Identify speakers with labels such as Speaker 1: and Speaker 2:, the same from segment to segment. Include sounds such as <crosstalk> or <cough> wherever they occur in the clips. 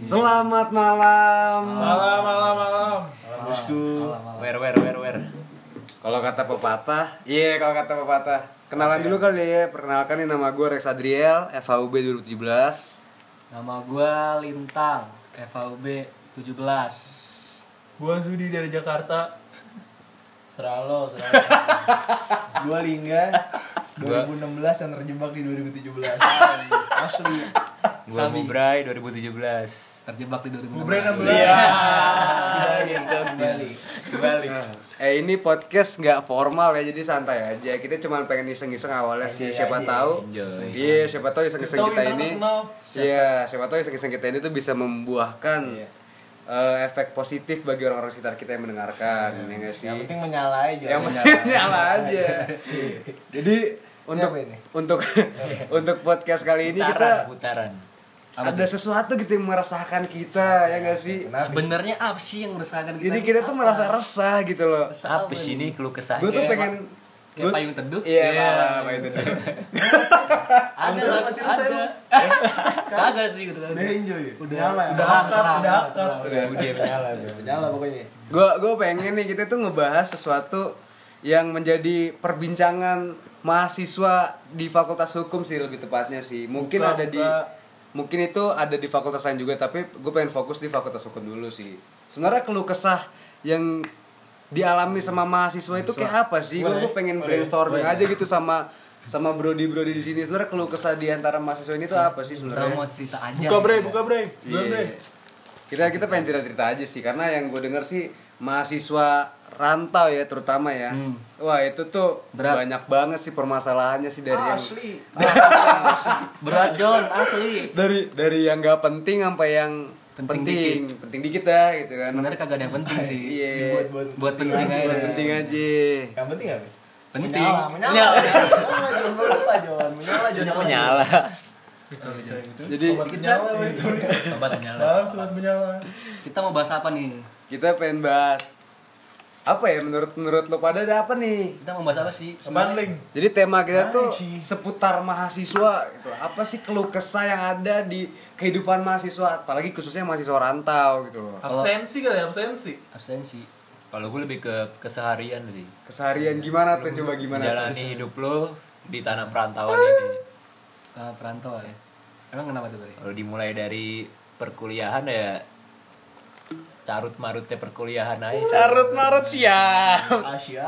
Speaker 1: Selamat malam.
Speaker 2: Malam, malam, malam. Malam
Speaker 1: bosku.
Speaker 2: Wer, wer, wer, wer.
Speaker 1: Kalau kata pepatah, iya kalau kata pepatah. Kenalan dulu kali ya. Perkenalkan nih nama gue Rex Adriel, FHUB 2017.
Speaker 3: Nama gua Lintang, FHUB 17.
Speaker 2: Gua Sudi dari Jakarta.
Speaker 4: Seralo, seralo. <laughs> Gua Lingga 2016 yang terjebak di 2017. Asli.
Speaker 2: Gua Mubrai 2017.
Speaker 3: Terjebak di 2016.
Speaker 4: Bubre 16. Kembali, kembali.
Speaker 2: Iya. Kembali.
Speaker 4: Nah.
Speaker 1: Eh ini podcast nggak formal ya, jadi santai aja. Kita cuma pengen iseng-iseng awalnya sih.
Speaker 4: Enjoy
Speaker 1: Siapa
Speaker 4: aja,
Speaker 1: tahu.
Speaker 2: enjoy.
Speaker 1: Iya, siapa tahu iseng-iseng
Speaker 4: Tahu
Speaker 1: kita
Speaker 4: kita
Speaker 1: ini.
Speaker 4: terkenal.
Speaker 1: Iya, siapa tahu iseng-iseng kita ini tuh bisa membuahkan
Speaker 4: Iya.
Speaker 1: eh, efek positif bagi orang-orang sekitar kita yang mendengarkan, ya nggak sih?
Speaker 4: Yang penting menyala aja.
Speaker 1: yang penting nyala aja jadi untuk
Speaker 4: apa ini?
Speaker 1: untuk <laughs> untuk podcast kali ini
Speaker 2: Putaran,
Speaker 1: kita
Speaker 2: putaran.
Speaker 1: ada sesuatu gitu yang meresahkan kita ya nggak sih
Speaker 3: Sebenarnya apa sih yang meresahkan kita?
Speaker 1: jadi kita tuh merasa resah gitu loh
Speaker 3: Resah
Speaker 2: Apa sih ini keluh kesah?
Speaker 1: gue tuh
Speaker 3: Kayak
Speaker 1: pengen
Speaker 3: kayak
Speaker 1: gua-
Speaker 3: payung teduh.
Speaker 1: iya
Speaker 3: Iya.
Speaker 1: malah payung teduh
Speaker 3: Ada
Speaker 4: Udah,
Speaker 3: lah,
Speaker 4: masih resah
Speaker 1: <laughs>
Speaker 3: ada. Kagak sih gitu kan.
Speaker 4: Udah enjoy.
Speaker 3: Udah,
Speaker 4: Nyala.
Speaker 1: ya.
Speaker 4: Udah
Speaker 3: udah
Speaker 4: akad,
Speaker 3: terang,
Speaker 4: udah
Speaker 3: udah
Speaker 4: akad.
Speaker 3: terang.
Speaker 2: Udah udah menyala. bro.
Speaker 4: Menyala pokoknya.
Speaker 1: gue gue pengen nih kita tuh ngebahas sesuatu yang menjadi perbincangan mahasiswa di Fakultas Hukum sih lebih tepatnya sih mungkin
Speaker 4: Buka,
Speaker 1: ada di
Speaker 4: buka.
Speaker 1: mungkin itu ada di fakultas lain juga tapi gue pengen fokus di Fakultas Hukum dulu sih sebenarnya keluh kesah yang dialami sama mahasiswa itu kayak apa sih gue
Speaker 4: Boleh,
Speaker 1: gue pengen
Speaker 4: boleh.
Speaker 1: brainstorming aja gitu sama sama brodi brodi di sini sebenarnya keluh kesah di antara mahasiswa ini tuh apa sih
Speaker 3: Kita mau
Speaker 1: sebenarnya
Speaker 3: cerita aja.
Speaker 2: Buka Bray, buka Bray. Buka
Speaker 1: Iya.
Speaker 2: Bray.
Speaker 1: Kita kita pengen cerita cerita aja sih karena yang gue denger sih mahasiswa rantau ya terutama ya. Wah itu tuh
Speaker 3: Berat.
Speaker 1: banyak banget sih permasalahannya sih
Speaker 4: iya,
Speaker 1: dari yang
Speaker 4: Ah, Asli.
Speaker 3: Berat John, asli.
Speaker 1: dari dari yang gak penting sampai yang penting
Speaker 3: Penting
Speaker 1: penting, dikit lah gitu kan.
Speaker 3: Sebenarnya kagak ada yang penting sih.
Speaker 1: Iya.
Speaker 4: Buat-buat
Speaker 3: Buat penting aja.
Speaker 1: Penting aja.
Speaker 4: Yang penting apa?
Speaker 3: Penting.
Speaker 4: Menyala, menyala. Menyala, Jon. Menyala, Jon. Menyala, Jon.
Speaker 2: Menyala.
Speaker 1: Jadi
Speaker 4: gitu. Sobat menyala, betul.
Speaker 2: Sobat menyala.
Speaker 4: Malam sobat menyala.
Speaker 3: Kita mau bahas apa nih?
Speaker 1: kita pengen bahas apa ya menurut menurut lo pada ada apa nih?
Speaker 3: Kita mau bahas apa sih?
Speaker 4: Bundling.
Speaker 1: Jadi tema kita tuh
Speaker 4: Anjing.
Speaker 1: seputar mahasiswa gitu. Apa sih keluh kesah yang ada di kehidupan mahasiswa apalagi khususnya mahasiswa rantau gitu loh.
Speaker 3: Kalau-
Speaker 5: absensi kali ya, absensi
Speaker 3: absensi.
Speaker 2: Kalau gue lebih ke keseharian sih.
Speaker 1: Keseharian gimana tuh coba gimana tuh?
Speaker 2: Menjalani hidup lo di tanah perantauan ini.
Speaker 3: Ke perantau ya. Emang kenapa tuh, Bray?
Speaker 2: Kalau dimulai dari perkuliahan ya carut marutnya perkuliahan aja. sih.
Speaker 1: Carut marut siap. <laughs>
Speaker 4: Asia.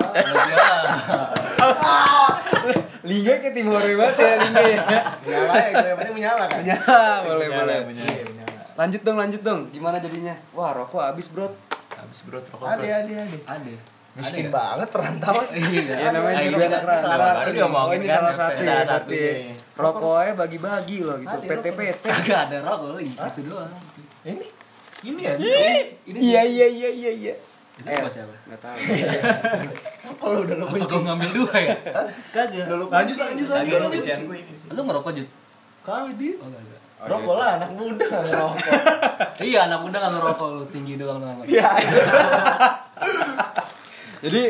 Speaker 1: Lingga kayak tim horor banget ya Lingga ya.
Speaker 4: Menyala ya, yang penting menyala kan.
Speaker 1: Menyala, boleh boleh.
Speaker 4: Iya, menyala.
Speaker 1: Lanjut dong lanjut dong. Gimana jadinya? Wah rokok habis bro.
Speaker 2: Habis bro rokok
Speaker 4: Ada,
Speaker 2: bro.
Speaker 4: ada, ada.
Speaker 3: Ada.
Speaker 4: Miskin
Speaker 3: Ada ya?
Speaker 4: banget perantau.
Speaker 3: Iya,
Speaker 1: Ya namanya
Speaker 3: Ayo,
Speaker 1: juga
Speaker 3: kita-
Speaker 1: anak
Speaker 3: kita salah
Speaker 1: rantau.
Speaker 2: baru
Speaker 3: satu nih.
Speaker 2: diomongin
Speaker 1: Oh ini
Speaker 2: kan,
Speaker 1: salah
Speaker 2: ya,
Speaker 1: satu
Speaker 2: salah
Speaker 1: ya
Speaker 2: satu
Speaker 1: berarti. ya.
Speaker 2: nih.
Speaker 1: Rokoknya bagi-bagi loh gitu.
Speaker 4: Ada rokok.
Speaker 1: PT-PT.
Speaker 3: Kagak ada rokok lagi, itu doang.
Speaker 4: Ini
Speaker 5: ini ya
Speaker 3: Ini
Speaker 1: Iya iya iya iya iya.
Speaker 3: Itu apa siapa?
Speaker 1: Enggak tahu.
Speaker 4: kalau udah lo
Speaker 3: Apa gua ngambil dua ya? Kagak.
Speaker 5: lanjut lanjut lanjut
Speaker 2: Lagi
Speaker 5: lanjut
Speaker 2: kuncian gue ini.
Speaker 3: Lu ngerokok Jud?
Speaker 5: kali di
Speaker 3: Oh kagak.
Speaker 4: Rokok lah anak <laughs> muda nggak ngerokok.
Speaker 3: Iya, anak muda nggak ngerokok lu tinggi doang lu ngerokok.
Speaker 4: Iya.
Speaker 1: Jadi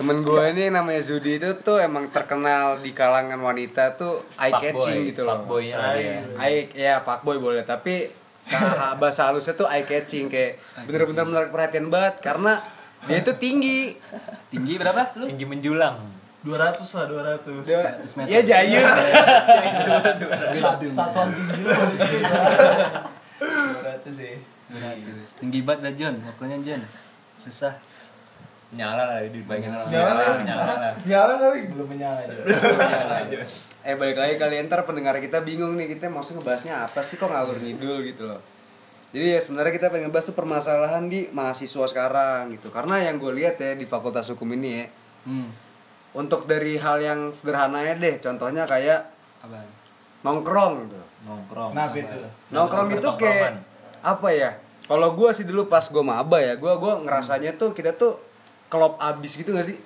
Speaker 1: temen gue ini yang namanya Zudi itu tuh emang terkenal di kalangan wanita tuh eye catching gitu loh.
Speaker 2: Fuckboy nya ada ya.
Speaker 1: Eye ya fuckboy boleh tapi bahasa- bahasa halusnya tuh eye catching kayak bener-bener menarik perhatian banget karena dia itu tinggi.
Speaker 3: Tinggi berapa lu?
Speaker 2: Tinggi menjulang.
Speaker 5: 200 lah 200
Speaker 1: Dia,
Speaker 3: 100 meter.
Speaker 1: ya jayus.
Speaker 4: Sa- Satuan tinggi lo. Berarti sih.
Speaker 3: Berat, Jud. Tinggi banget dah John, rokoknya John. Susah.
Speaker 2: Nyala lah di bagian
Speaker 3: Nyala.
Speaker 2: Nyala lah.
Speaker 4: Nyala kali belum kan? menyala aja.
Speaker 1: eh balik lagi kalian ntar pendengar kita bingung nih kita maksudnya ngebahasnya apa sih kok ngalur ngidul gitu loh jadi ya sebenarnya kita pengen bahas tuh permasalahan di mahasiswa sekarang gitu karena yang gue lihat ya di fakultas hukum ini ya
Speaker 3: Hmm.
Speaker 1: untuk dari hal yang sederhananya deh contohnya kayak
Speaker 3: Apa?
Speaker 1: nongkrong gitu
Speaker 2: Nongkrong.
Speaker 4: Kenapa itu?
Speaker 1: nongkrong itu kayak apa ya kalau gue sih dulu pas gue maba ya gue gua ngerasanya tuh kita tuh klop abis gitu gak sih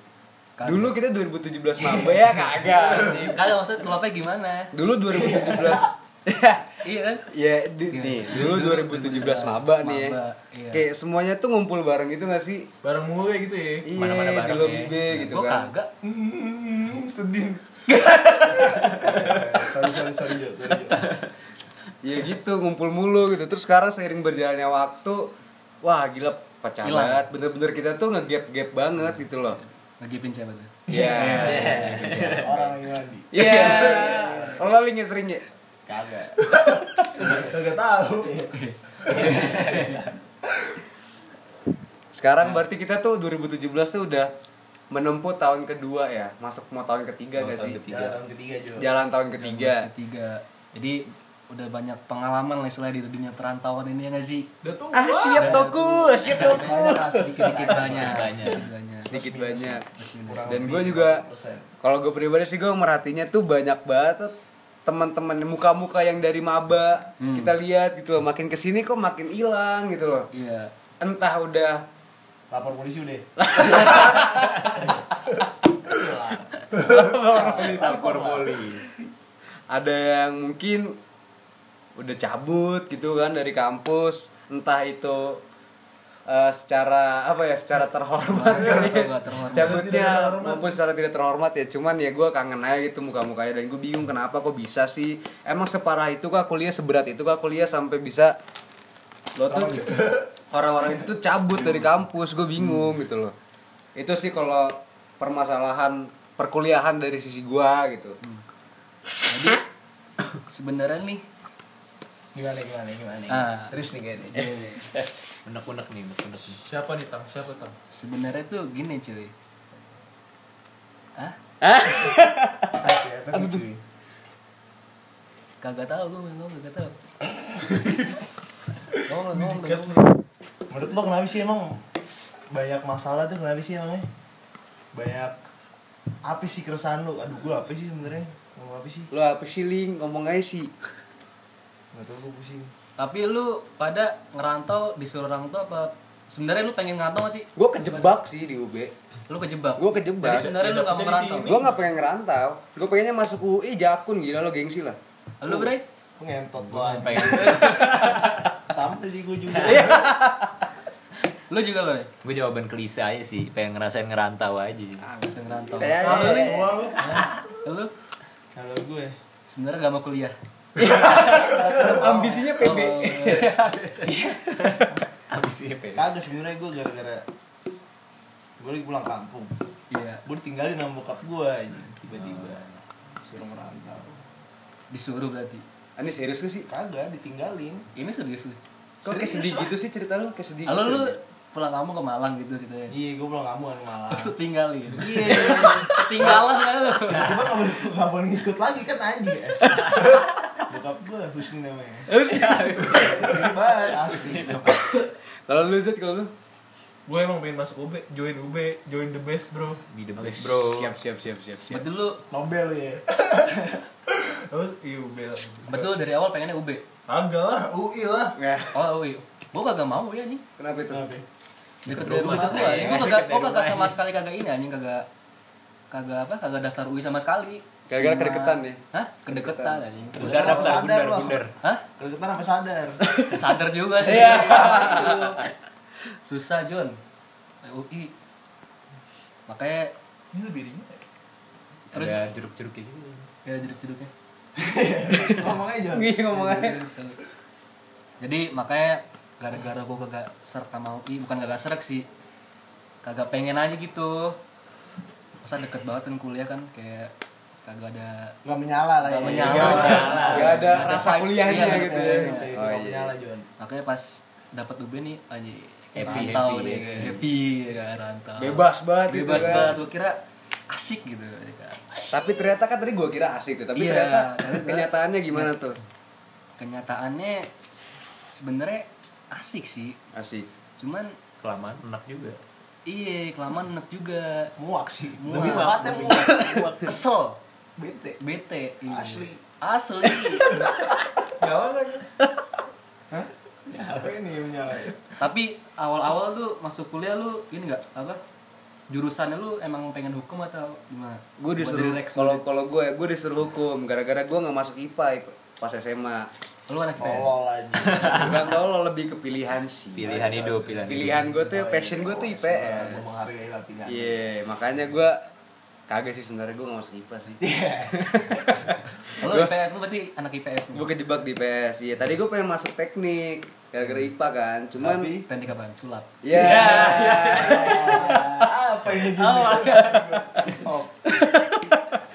Speaker 3: Kagak.
Speaker 1: dulu kita 2017 maba ya kagak
Speaker 3: Kagak maksud kelopnya gimana?
Speaker 1: dulu <laughs> 2017
Speaker 3: Iya kan?
Speaker 1: Ya, di,
Speaker 3: Iya.
Speaker 1: nih, dulu 2017 maba nih ya.
Speaker 3: Maba, iya.
Speaker 1: Kayak semuanya tuh ngumpul bareng gitu gak sih?
Speaker 5: bareng mulu ya gitu ya
Speaker 1: Iya,
Speaker 2: Mana-mana
Speaker 1: di
Speaker 2: bareng
Speaker 1: lobby
Speaker 2: ya.
Speaker 1: B gitu
Speaker 3: Gua
Speaker 1: kan.
Speaker 3: kagak.
Speaker 4: Hmm, sedih. sorry sorry sorry Jo, sorry Jo.
Speaker 1: ya gitu ngumpul mulu gitu terus sekarang seiring berjalannya waktu wah gila pacarat bener-bener kita tuh ngegap gap banget gitu loh
Speaker 3: Ngegipin siapa tuh?
Speaker 1: ya
Speaker 4: Orang yang mandi.
Speaker 1: ya kalau link ya sering ya
Speaker 4: Kagak.
Speaker 5: Kagak tahu.
Speaker 1: sekarang berarti kita tuh 2017 tuh udah menempuh tahun kedua ya masuk mau tahun ketiga gak sih
Speaker 5: Ya, tahun ketiga Jo.
Speaker 1: jalan tahun ketiga
Speaker 3: Ketiga. Jadi udah banyak pengalaman lah istilahnya di dunia perantauan ini ya nggak sih?
Speaker 5: Udah tua.
Speaker 1: ah siap toku siap toku
Speaker 3: Sedikit banyak.
Speaker 2: Banyak.
Speaker 3: sedikit banyak.
Speaker 1: sedikit banyak
Speaker 4: Kurang
Speaker 1: Dan
Speaker 4: lebih
Speaker 1: gua juga-
Speaker 4: 50%.
Speaker 1: Kalau gue pribadi sih gue merhatinya tuh banyak banget tuh teman-teman muka-muka yang dari maba kita lihat gitu loh makin kesini kok makin hilang gitu loh
Speaker 3: Iya.
Speaker 1: entah udah
Speaker 4: Lapor
Speaker 1: <laughs>
Speaker 4: polisi udah.
Speaker 1: lapor polisi ada yang mungkin udah cabut gitu kan dari kampus entah itu eh, secara apa ya secara terhormat kali ya.
Speaker 3: nggak terhormat.
Speaker 1: cabutnya
Speaker 5: Secara tidak terhormat.
Speaker 1: maupun secara tidak terhormat ya cuman ya gue kangen aja gitu muka mukanya dan gue bingung kenapa kok bisa sih emang separah itu kah kuliah seberat itu kah kuliah sampai bisa lo tuh <laughs> orang-orang itu tuh cabut dari kampus gue bingung gitu loh itu sih kalau permasalahan perkuliahan dari sisi gue gitu
Speaker 3: Jadi sebenarnya nih
Speaker 4: Gimana gimana gimana.
Speaker 3: Ah.
Speaker 4: Serius nih kayaknya.
Speaker 2: unek-unek nih unek-unek nih.
Speaker 5: Siapa nih Tang? Siapa Tang?
Speaker 3: sebenarnya tuh gini cuy. Ah,
Speaker 4: Apa tuh?
Speaker 3: kagak tahu gue ngomong kagak tahu. ngomong ngomong
Speaker 5: Dikat
Speaker 3: ngomong.
Speaker 5: nih.
Speaker 4: Menurut lo kenapa sih emang banyak masalah tuh kenapa sih emangnya? Banyak apa sih keresahan lo? Aduh gua apa sih sebenarnya? Ngomong apa sih?
Speaker 1: lo apa sih Ling? ngomong aja sih
Speaker 4: Gak tau gua pusing.
Speaker 3: Tapi lu pada ngerantau disuruh orang tua apa? Sebenarnya lu pengen ngerantau gak sih?
Speaker 1: gue kejebak sih di UB
Speaker 3: Lu kejebak.
Speaker 1: gue
Speaker 3: Jadi
Speaker 1: kejebak
Speaker 3: sebenarnya lu gak mau
Speaker 5: Jadi
Speaker 3: ngerantau.
Speaker 5: sini.
Speaker 1: gue nggak pengen ngerantau gue pengennya masuk UI jakun gila lo gengsi lah
Speaker 3: Lu bre?
Speaker 4: Gua ngentot
Speaker 2: Gua
Speaker 4: banget.
Speaker 2: pengen
Speaker 4: Sampai sih gua juga.
Speaker 3: Lu juga bre?
Speaker 2: gue jawaban klise aja sih pengen ngerasain ngerantau aja
Speaker 3: Bisa ngerantau.
Speaker 1: Kayak-
Speaker 5: Ah,
Speaker 1: Iya.
Speaker 5: tua lu.
Speaker 3: Lu
Speaker 4: Kalau gue
Speaker 3: sebenarnya gak mau kuliah.
Speaker 1: ambisinya PB
Speaker 3: Oh,
Speaker 2: abis ini pengen
Speaker 4: kagak sebenarnya gue gara-gara gue lagi pulang kampung.
Speaker 3: <laughs> Iya,
Speaker 4: Gue ditinggalin sama bokap gue anjing tiba-tiba. Suruh merantau.
Speaker 3: disuruh berarti.
Speaker 1: Ah, ini serius gak sih
Speaker 4: Kagak ditinggalin.
Speaker 3: Ini serius lu.
Speaker 1: kok kayak sedih gitu sih cerita lo kayak sedih
Speaker 3: Halo
Speaker 1: gitu <laughs>
Speaker 3: lu pulang kamu ke Malang gitu situ ya.
Speaker 4: Iya, gue pulang kampung kan malam.
Speaker 3: Terus tinggalin.
Speaker 4: Iya.
Speaker 3: Ketinggalan kan lu.
Speaker 4: Cuma kamu gak boleh ngikut lagi kan anjing ya. Bokap gue Husni namanya. Gede banget asli.
Speaker 1: kalau lu Zed kalau lu
Speaker 5: Gue emang pengen masuk UB, join UB, join the best bro.
Speaker 2: be the best bro
Speaker 1: siap siap siap siap siap
Speaker 3: Berarti lu
Speaker 4: Nobel lu ya.
Speaker 5: Terus iya UB lah.
Speaker 3: berarti lu dari awal pengennya UB.
Speaker 5: Agak lah, UI lah.
Speaker 1: ya
Speaker 3: Oh, iya. Gua kagak mau ya anjing.
Speaker 1: kenapa itu
Speaker 4: Kenapa? ya?
Speaker 3: Deket
Speaker 2: Deket
Speaker 3: dari
Speaker 2: rumah,
Speaker 3: rumah gua.
Speaker 2: iya.
Speaker 3: Gua kagak gua
Speaker 2: Deket dari
Speaker 3: kagak
Speaker 2: rumah,
Speaker 3: sama
Speaker 2: iya.
Speaker 3: sekali kagak ini anjing kagak kagak apa kagak daftar UI sama sekali.
Speaker 1: Gara-gara
Speaker 3: Cuma-
Speaker 1: kedeketan ya?
Speaker 3: Hah? Kedeketan anjing.
Speaker 2: bundar daftar
Speaker 4: Sadar
Speaker 2: bundar
Speaker 4: lu.
Speaker 2: bundar
Speaker 3: Hah?
Speaker 4: Keringetan sampai sadar.
Speaker 3: Sadar juga sih.
Speaker 1: Iya.
Speaker 3: Masuk. <laughs> Susah, John. UI. Makanya
Speaker 5: <laughs> Ini lebih ringan. ya?
Speaker 3: Terus-
Speaker 2: ada jeruk-jeruk kayak gitu
Speaker 3: ya jeruk-jeruknya.
Speaker 4: Ngomong aja.
Speaker 1: Iya, ngomong aja.
Speaker 3: Jadi makanya gara-gara gua kagak serk sama UI, bukan kagak serk sih. Kagak pengen aja gitu. Masa deket banget kan kuliah kan kayak kagak ada
Speaker 4: Gak menyala lah ya.
Speaker 3: Gak
Speaker 2: iya,
Speaker 3: menyala.
Speaker 1: Gak ada- gak ada
Speaker 3: Gak ada
Speaker 1: rasa
Speaker 3: vibes,
Speaker 1: kuliahnya
Speaker 3: iya,
Speaker 1: gitu
Speaker 3: iya,
Speaker 1: ya.
Speaker 3: iya.
Speaker 4: Oh,
Speaker 1: Oh
Speaker 4: gak
Speaker 1: iya.
Speaker 4: menyala John.
Speaker 3: makanya pas dapat UB nih aja
Speaker 2: Happy, happy, iya,
Speaker 3: deh,
Speaker 2: happy.
Speaker 3: happy ya kan, rantau.
Speaker 1: Bebas banget gitu
Speaker 3: Bebas
Speaker 1: kan.
Speaker 3: banget. Gua kira asik gitu ya kan.
Speaker 1: tapi ternyata kan tadi gue kira asik tuh tapi
Speaker 3: Iya,
Speaker 1: ternyata
Speaker 3: ternyata-
Speaker 1: kenyataannya gimana tuh
Speaker 3: kenyataannya sebenarnya asik sih
Speaker 1: asik
Speaker 3: cuman
Speaker 2: kelamaan enak juga
Speaker 3: iya kelamaan enak juga
Speaker 4: Muak sih.
Speaker 3: Muak.
Speaker 4: Lebih tepatnya muak.
Speaker 3: kesel
Speaker 4: Bete.
Speaker 3: bete iya.
Speaker 4: Asli.
Speaker 3: asli
Speaker 5: Nyala gak ya?
Speaker 4: Apa ini yang menyala? ya?
Speaker 3: tapi awal-awal tuh masuk kuliah lu ini nggak apa jurusannya lu emang pengen hukum atau gimana
Speaker 1: gue
Speaker 3: Buat
Speaker 1: disuruh
Speaker 3: jadi Rex
Speaker 1: kalau
Speaker 3: dulu.
Speaker 1: kalau gue gue disuruh hukum gara-gara gue nggak masuk IPA itu pas SMA
Speaker 3: lu anak IPS
Speaker 4: Tolol aja.
Speaker 1: bukan lo lebih kepilihan sih
Speaker 2: pilihan hidup
Speaker 1: Oh,
Speaker 2: Iya. pilihan hidup.
Speaker 1: iya. pilihan gue tuh passion gue tuh
Speaker 4: Gua
Speaker 1: IPS
Speaker 4: Menghargai lah pilihan.
Speaker 1: Iya, makanya gue Iya, Kagak sih sebenarnya gue gak masuk IPA sih. <laughs>
Speaker 3: Lu
Speaker 1: Gua-
Speaker 3: IPS lu berarti anak IPS nih.
Speaker 1: gue kejebak di PS. Iya, tadi gue pengen masuk teknik gara-gara IPA kan. Cuman
Speaker 4: Tapi
Speaker 3: Teknik apaan? Sulap.
Speaker 1: ya
Speaker 4: apa ini gini?
Speaker 3: <laughs> Stop.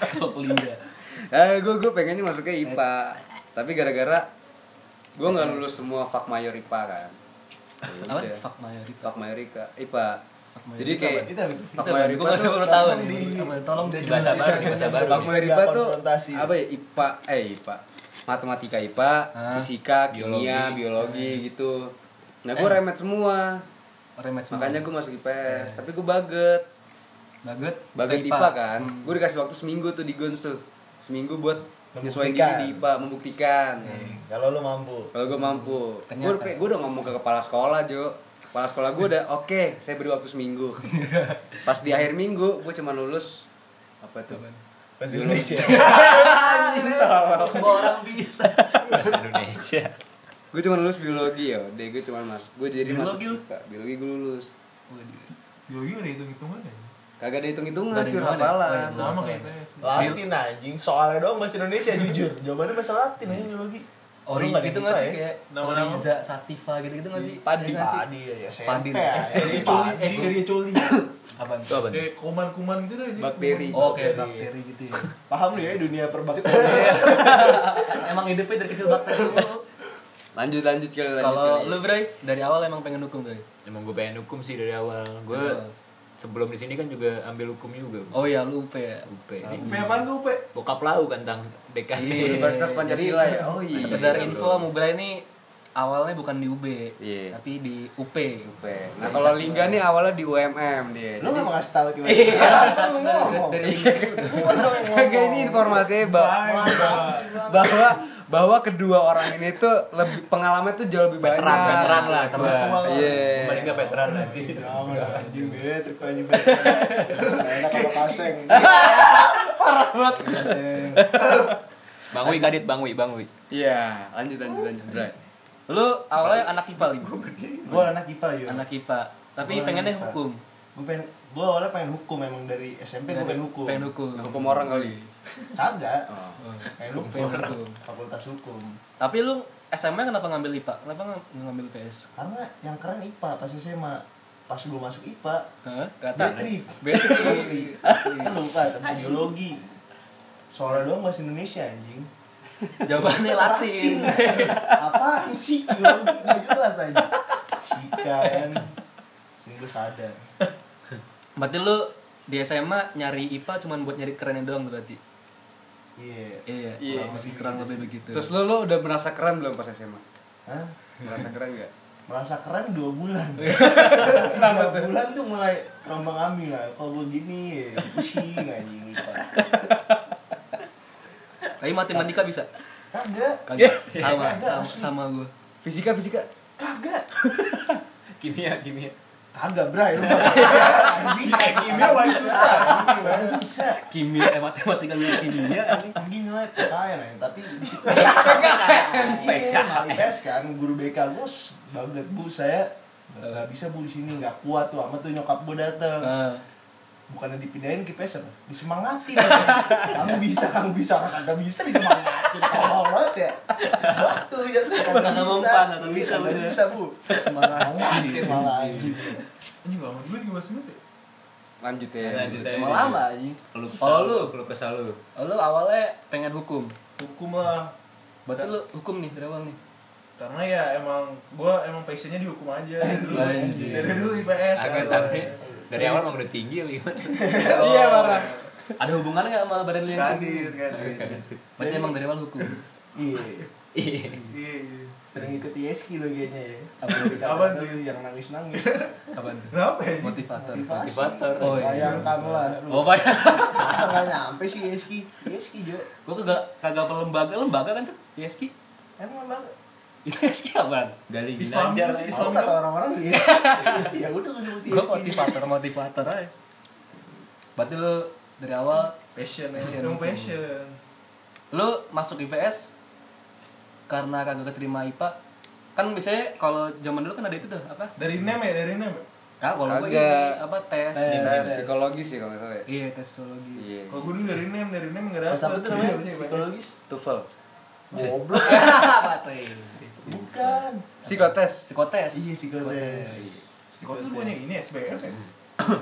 Speaker 3: Stop Linda.
Speaker 1: Eh, gue gue pengennya masuknya IPA. Tapi gara-gara gue nggak lulus semua fak mayor IPA kan. Ya
Speaker 3: Apa?
Speaker 1: udah.
Speaker 3: Fak Mayoritas.
Speaker 1: Fak mayor IPA. IPA.
Speaker 3: Fak mayor
Speaker 1: Jadi
Speaker 3: IPA
Speaker 1: kayak
Speaker 4: apa? Itu apa?
Speaker 1: fak
Speaker 3: Itu
Speaker 1: mayor
Speaker 3: gue
Speaker 1: IPA
Speaker 3: baru
Speaker 1: tuh
Speaker 3: baru tahu
Speaker 4: Tolong
Speaker 3: nih.
Speaker 4: di-
Speaker 3: Apa, Tolong
Speaker 4: di-
Speaker 3: di
Speaker 2: bahasa baru, di bahasa baru.
Speaker 1: Fak mayor IPA tuh
Speaker 4: Konfrontasi.
Speaker 1: apa ya IPA eh IPA matematika IPA
Speaker 3: Hah?
Speaker 1: fisika kimia
Speaker 2: Biologi.
Speaker 1: biologi gitu nah gue
Speaker 3: Eh.
Speaker 1: remet semua
Speaker 3: rematch
Speaker 1: makanya gue masuk IPS tapi gue baget
Speaker 3: baget
Speaker 1: baget IPA, kan
Speaker 3: Hmm.
Speaker 1: gue dikasih waktu seminggu tuh di Guns tuh seminggu buat nyesuaiin diri
Speaker 4: Membuktikan. Iya.
Speaker 1: di IPA membuktikan
Speaker 4: Kalau lu mampu.
Speaker 1: kalau gue mampu gue
Speaker 3: Ternyata.
Speaker 1: gue udah ngomong ke kepala sekolah Jo kepala sekolah gue udah oke saya beri waktu seminggu pas di akhir minggu gue cuma lulus apa tuh
Speaker 4: Bahasa
Speaker 1: Dulu.
Speaker 4: Indonesia.
Speaker 3: Anjing Semua orang bisa.
Speaker 2: bahasa Indonesia
Speaker 1: gue cuma lulus biologi ya deh gue cuma mas gue jadi masuk
Speaker 5: Biologi lu?
Speaker 1: IPA biologi gue lulus
Speaker 5: Yoyo udah hitung-hitungan ya.
Speaker 1: kagak ada hitung hitungan
Speaker 3: Nggak ada
Speaker 1: pure
Speaker 3: hitungan ya? Oh,
Speaker 1: hafalan
Speaker 3: iya.
Speaker 5: Sama
Speaker 3: Apa
Speaker 5: kayak
Speaker 3: ya?
Speaker 5: IPS.
Speaker 4: Latin anjing, soalnya doang bahasa
Speaker 5: <laughs>
Speaker 4: Indonesia jujur. Jawabannya bahasa Latin anjing biologi.
Speaker 3: Ori
Speaker 4: Lu nggak ada
Speaker 3: gitu
Speaker 4: yang IPA
Speaker 3: nggak sih
Speaker 4: ya?
Speaker 3: kayak
Speaker 5: Nama-nama.
Speaker 3: Oriza, Sativa gitu-gitu nggak sih?
Speaker 1: Padi.
Speaker 3: Ada nggak sih?
Speaker 4: Padi ya, SMP
Speaker 3: Padi.
Speaker 4: ya.
Speaker 5: Seri coli,
Speaker 4: Padi.
Speaker 5: eh seri <laughs> coli.
Speaker 3: Apaan?
Speaker 2: itu apa tuh?
Speaker 5: Kayak kuman-kuman gitu deh.
Speaker 1: Bakteri.
Speaker 3: Oh, kayak bakteri gitu ya. <laughs>
Speaker 4: Paham lu ya dunia perbaktian.
Speaker 3: Iya. Emang hidupnya dari kecil bakteri dulu.
Speaker 1: lanjut lanjut kali lanjut
Speaker 3: Kalau
Speaker 1: kali.
Speaker 3: lu Bray, dari awal emang pengen dukung Bray?
Speaker 2: emang gue pengen hukum sih dari awal gue
Speaker 3: Iya.
Speaker 2: sebelum di sini kan juga ambil hukum juga
Speaker 3: Oh iya, lu UP ya?
Speaker 2: UP.
Speaker 3: Sabi.
Speaker 5: Pe apaan tuh, Pe?
Speaker 2: bokap lau kan tang DKI
Speaker 1: Universitas Pancasila ya? Oh iya.
Speaker 3: Sekedar
Speaker 2: Iya,
Speaker 3: info,
Speaker 2: bro.
Speaker 3: Mubra ini awalnya bukan di UB,
Speaker 1: Iya.
Speaker 3: tapi di UP.
Speaker 1: UP. Nah kalau Lingga nih awalnya di UMM dia. Jadi-
Speaker 4: Lu nggak mau kasih tahu
Speaker 5: Eh,
Speaker 4: tiba-tiba.
Speaker 3: <laughs> Atas
Speaker 4: Lu
Speaker 3: dari-
Speaker 4: ngomong.
Speaker 3: dari
Speaker 1: <laughs> Kagak ini informasinya bahwa bahwa bahwa kedua orang ini tuh lebih pengalaman tuh jauh lebih banyak.
Speaker 2: veteran veteran lah Iya.
Speaker 3: Veteran.
Speaker 2: gua.
Speaker 1: Iya.
Speaker 2: paling nggak veteran lah sih
Speaker 4: Jangan lah, anjing gue trip anjing. Enak Iya, apa
Speaker 5: <laughs>
Speaker 4: kaseng. Parah banget.
Speaker 2: bang Wi kadit bang Wi bang Wi
Speaker 1: Iya, lanjut lanjut lanjut. Bray.
Speaker 3: Lu awalnya anak IPA Lim.
Speaker 4: Gue anak IPA yo.
Speaker 3: Anak IPA. Tapi
Speaker 4: Gua anak
Speaker 3: pengennya
Speaker 4: IPA.
Speaker 3: hukum.
Speaker 4: Gue pengen gue awalnya pengen hukum emang dari SMP gue pengen hukum.
Speaker 3: Pengen hukum.
Speaker 1: Hukum orang kali.
Speaker 4: Kagak.
Speaker 3: Oh.
Speaker 4: Pengen hukum.
Speaker 3: Pengen hukum.
Speaker 4: Fakultas hukum.
Speaker 3: Tapi lu SMA kenapa ngambil IPA? Kenapa nggak ngambil PS?
Speaker 4: Karena yang keren IPA pas SMA. Pas gue masuk IPA,
Speaker 3: Hah? Kata.
Speaker 4: dia
Speaker 3: Iya,
Speaker 4: trip. <laughs>
Speaker 3: Betri.
Speaker 4: Kan lupa tentang biologi. Soalnya doang bahasa Indonesia anjing.
Speaker 3: Jawabannya Latin.
Speaker 4: Apaan sih biologi nggak jelas aja. Sika kan. Sini gue sadar.
Speaker 3: Berarti lu di SMA nyari IPA cuman buat nyari kerennya doang berarti.
Speaker 4: Iya.
Speaker 3: Iya,
Speaker 1: Iya.
Speaker 3: kurang masih kurang lebih begitu.
Speaker 1: Terus lu lu udah merasa keren belum pas SMA?
Speaker 4: Hah?
Speaker 1: Merasa keren gak?
Speaker 4: merasa keren dua bulan dua bulan tuh mulai rombang ambil lah kalau begini ya, pusing anjing IPA
Speaker 3: tapi matematika bisa.
Speaker 4: kagak
Speaker 1: Iya.
Speaker 3: Kagak. Sama,
Speaker 4: Kagak,
Speaker 3: sama,
Speaker 4: asli.
Speaker 3: sama gua.
Speaker 1: Fisika fisika.
Speaker 4: kagak
Speaker 2: kimia kimia
Speaker 4: kagak bray lu anjing kayak kimia wah susah Wah, bisa
Speaker 3: Kimia, eh matematika lu kimia.
Speaker 4: Iya, anjing nilai PKN ya tapi
Speaker 3: <laughs>
Speaker 4: PKN IPS kan guru BK gue banget bu saya eh, nggak bisa bu di sini nggak kuat tuh amat tuh nyokap gue dateng
Speaker 3: Ah.
Speaker 4: bukannya dipindahin ke PS apa? Disemangatin. <laughs> kamu bisa, kamu bisa, orang kagak bisa disemangatin. Tolol banget ya. Waktu ya
Speaker 3: Orang
Speaker 4: kagak
Speaker 3: ngomong
Speaker 4: bisa.
Speaker 3: Iya, pan, atau
Speaker 4: Iya,
Speaker 3: bisa,
Speaker 4: kagak
Speaker 3: bener.
Speaker 4: bisa, Bu. Semangatin malah anjing.
Speaker 3: iya.
Speaker 5: Anjing lama juga di bahasa Indonesia.
Speaker 1: Lanjut ya.
Speaker 2: Lanjut ya.
Speaker 3: Emang lama aja.
Speaker 2: kalau
Speaker 3: Kalau lu,
Speaker 2: kalau kesal lu
Speaker 3: lu awalnya pengen hukum.
Speaker 5: Hukum lah.
Speaker 3: Berarti lu hukum nih dari awal nih.
Speaker 5: Karena ya emang gua emang passionnya di hukum aja dari dulu.
Speaker 3: Anjing.
Speaker 5: Dari dulu IPS.
Speaker 2: agak
Speaker 5: kan.
Speaker 2: tapi dari awal emang udah tinggi apa gimana
Speaker 1: Iya, parah.
Speaker 3: Ada hubungannya nggak sama badan lu yang hukum?
Speaker 5: Kadit, kadit.
Speaker 3: Berarti emang dari awal hukum.
Speaker 4: Iya.
Speaker 2: iya
Speaker 5: Iya, iya.
Speaker 4: Sering ikut ISK lo kayaknya ya.
Speaker 3: Apa?
Speaker 4: Kapan tuh yang nangis-nangis?
Speaker 3: Apaan tuh?
Speaker 5: Kenapa ya?
Speaker 3: Motivator.
Speaker 2: Motivator.
Speaker 4: Oh,
Speaker 3: Oh, iya.
Speaker 4: Bayangkanlah.
Speaker 3: Oh, banyak.
Speaker 4: Masa nggak nyampe sih ISK? ISK, Jo.
Speaker 3: Gua kagak kagak apa lembaga, lembaga kan tuh. ISK.
Speaker 4: Emang banget.
Speaker 3: ISK apaan?
Speaker 2: gali
Speaker 5: Islam
Speaker 2: ginanjar
Speaker 5: sih, Islam
Speaker 4: Kalau kata orang-orang ya. <laughs> Ya udah gue sebut
Speaker 3: gue
Speaker 4: ISK.
Speaker 3: motivator motivator aja berarti lu dari awal
Speaker 5: Passion, ya.
Speaker 3: Passion.
Speaker 5: emang passion.
Speaker 3: lu masuk IPS karena kagak keterima IPA kan biasanya kalau zaman dulu kan ada itu tuh apa
Speaker 5: Dari NEM ya, dari NEM. ya?
Speaker 3: Kak, kalau gue ini
Speaker 1: Kagak.
Speaker 3: apa tes.
Speaker 4: Tes.
Speaker 1: Tes psikologis sih kalau nggak salah ya.
Speaker 3: Iya, tes psikologis.
Speaker 1: Iya.
Speaker 5: Kalau gue dulu dari name, dari name nggak
Speaker 4: Bahasa apa
Speaker 5: dapet
Speaker 4: tuh namanya?
Speaker 5: Iya,
Speaker 4: Psikologis?
Speaker 1: Tuval.
Speaker 4: Goblok.
Speaker 3: <laughs> Bahasa Inggris.
Speaker 4: Bukan.
Speaker 1: Psikotes.
Speaker 3: Psikotes.
Speaker 4: Iya psikotes.
Speaker 5: Psikotes tuh banyak ini SBM ya?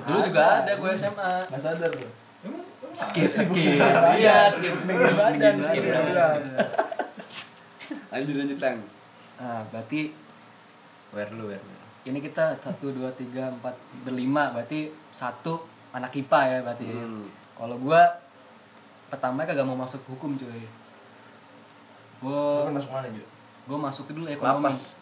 Speaker 3: Dulu juga ada gue SMA.
Speaker 4: Gak sadar lu.
Speaker 5: Emang? emang
Speaker 3: Skip,
Speaker 5: ada?
Speaker 3: skip. Iya, skip.
Speaker 4: Megang badan,
Speaker 3: Megang
Speaker 4: skip
Speaker 3: badan.
Speaker 4: badan.
Speaker 1: Lanjut lanjut lang.
Speaker 3: Nah, berarti
Speaker 2: Where lu, where lu?
Speaker 3: ini kita satu dua tiga empat berlima berarti satu anak IPA ya berarti
Speaker 1: Hmm.
Speaker 3: kalau gua pertama kagak mau masuk hukum cuy
Speaker 4: Lu
Speaker 3: gua
Speaker 4: kan masuk mana
Speaker 3: <laughs>
Speaker 4: juga?
Speaker 3: gua masuk dulu ekonomi
Speaker 1: Lapas.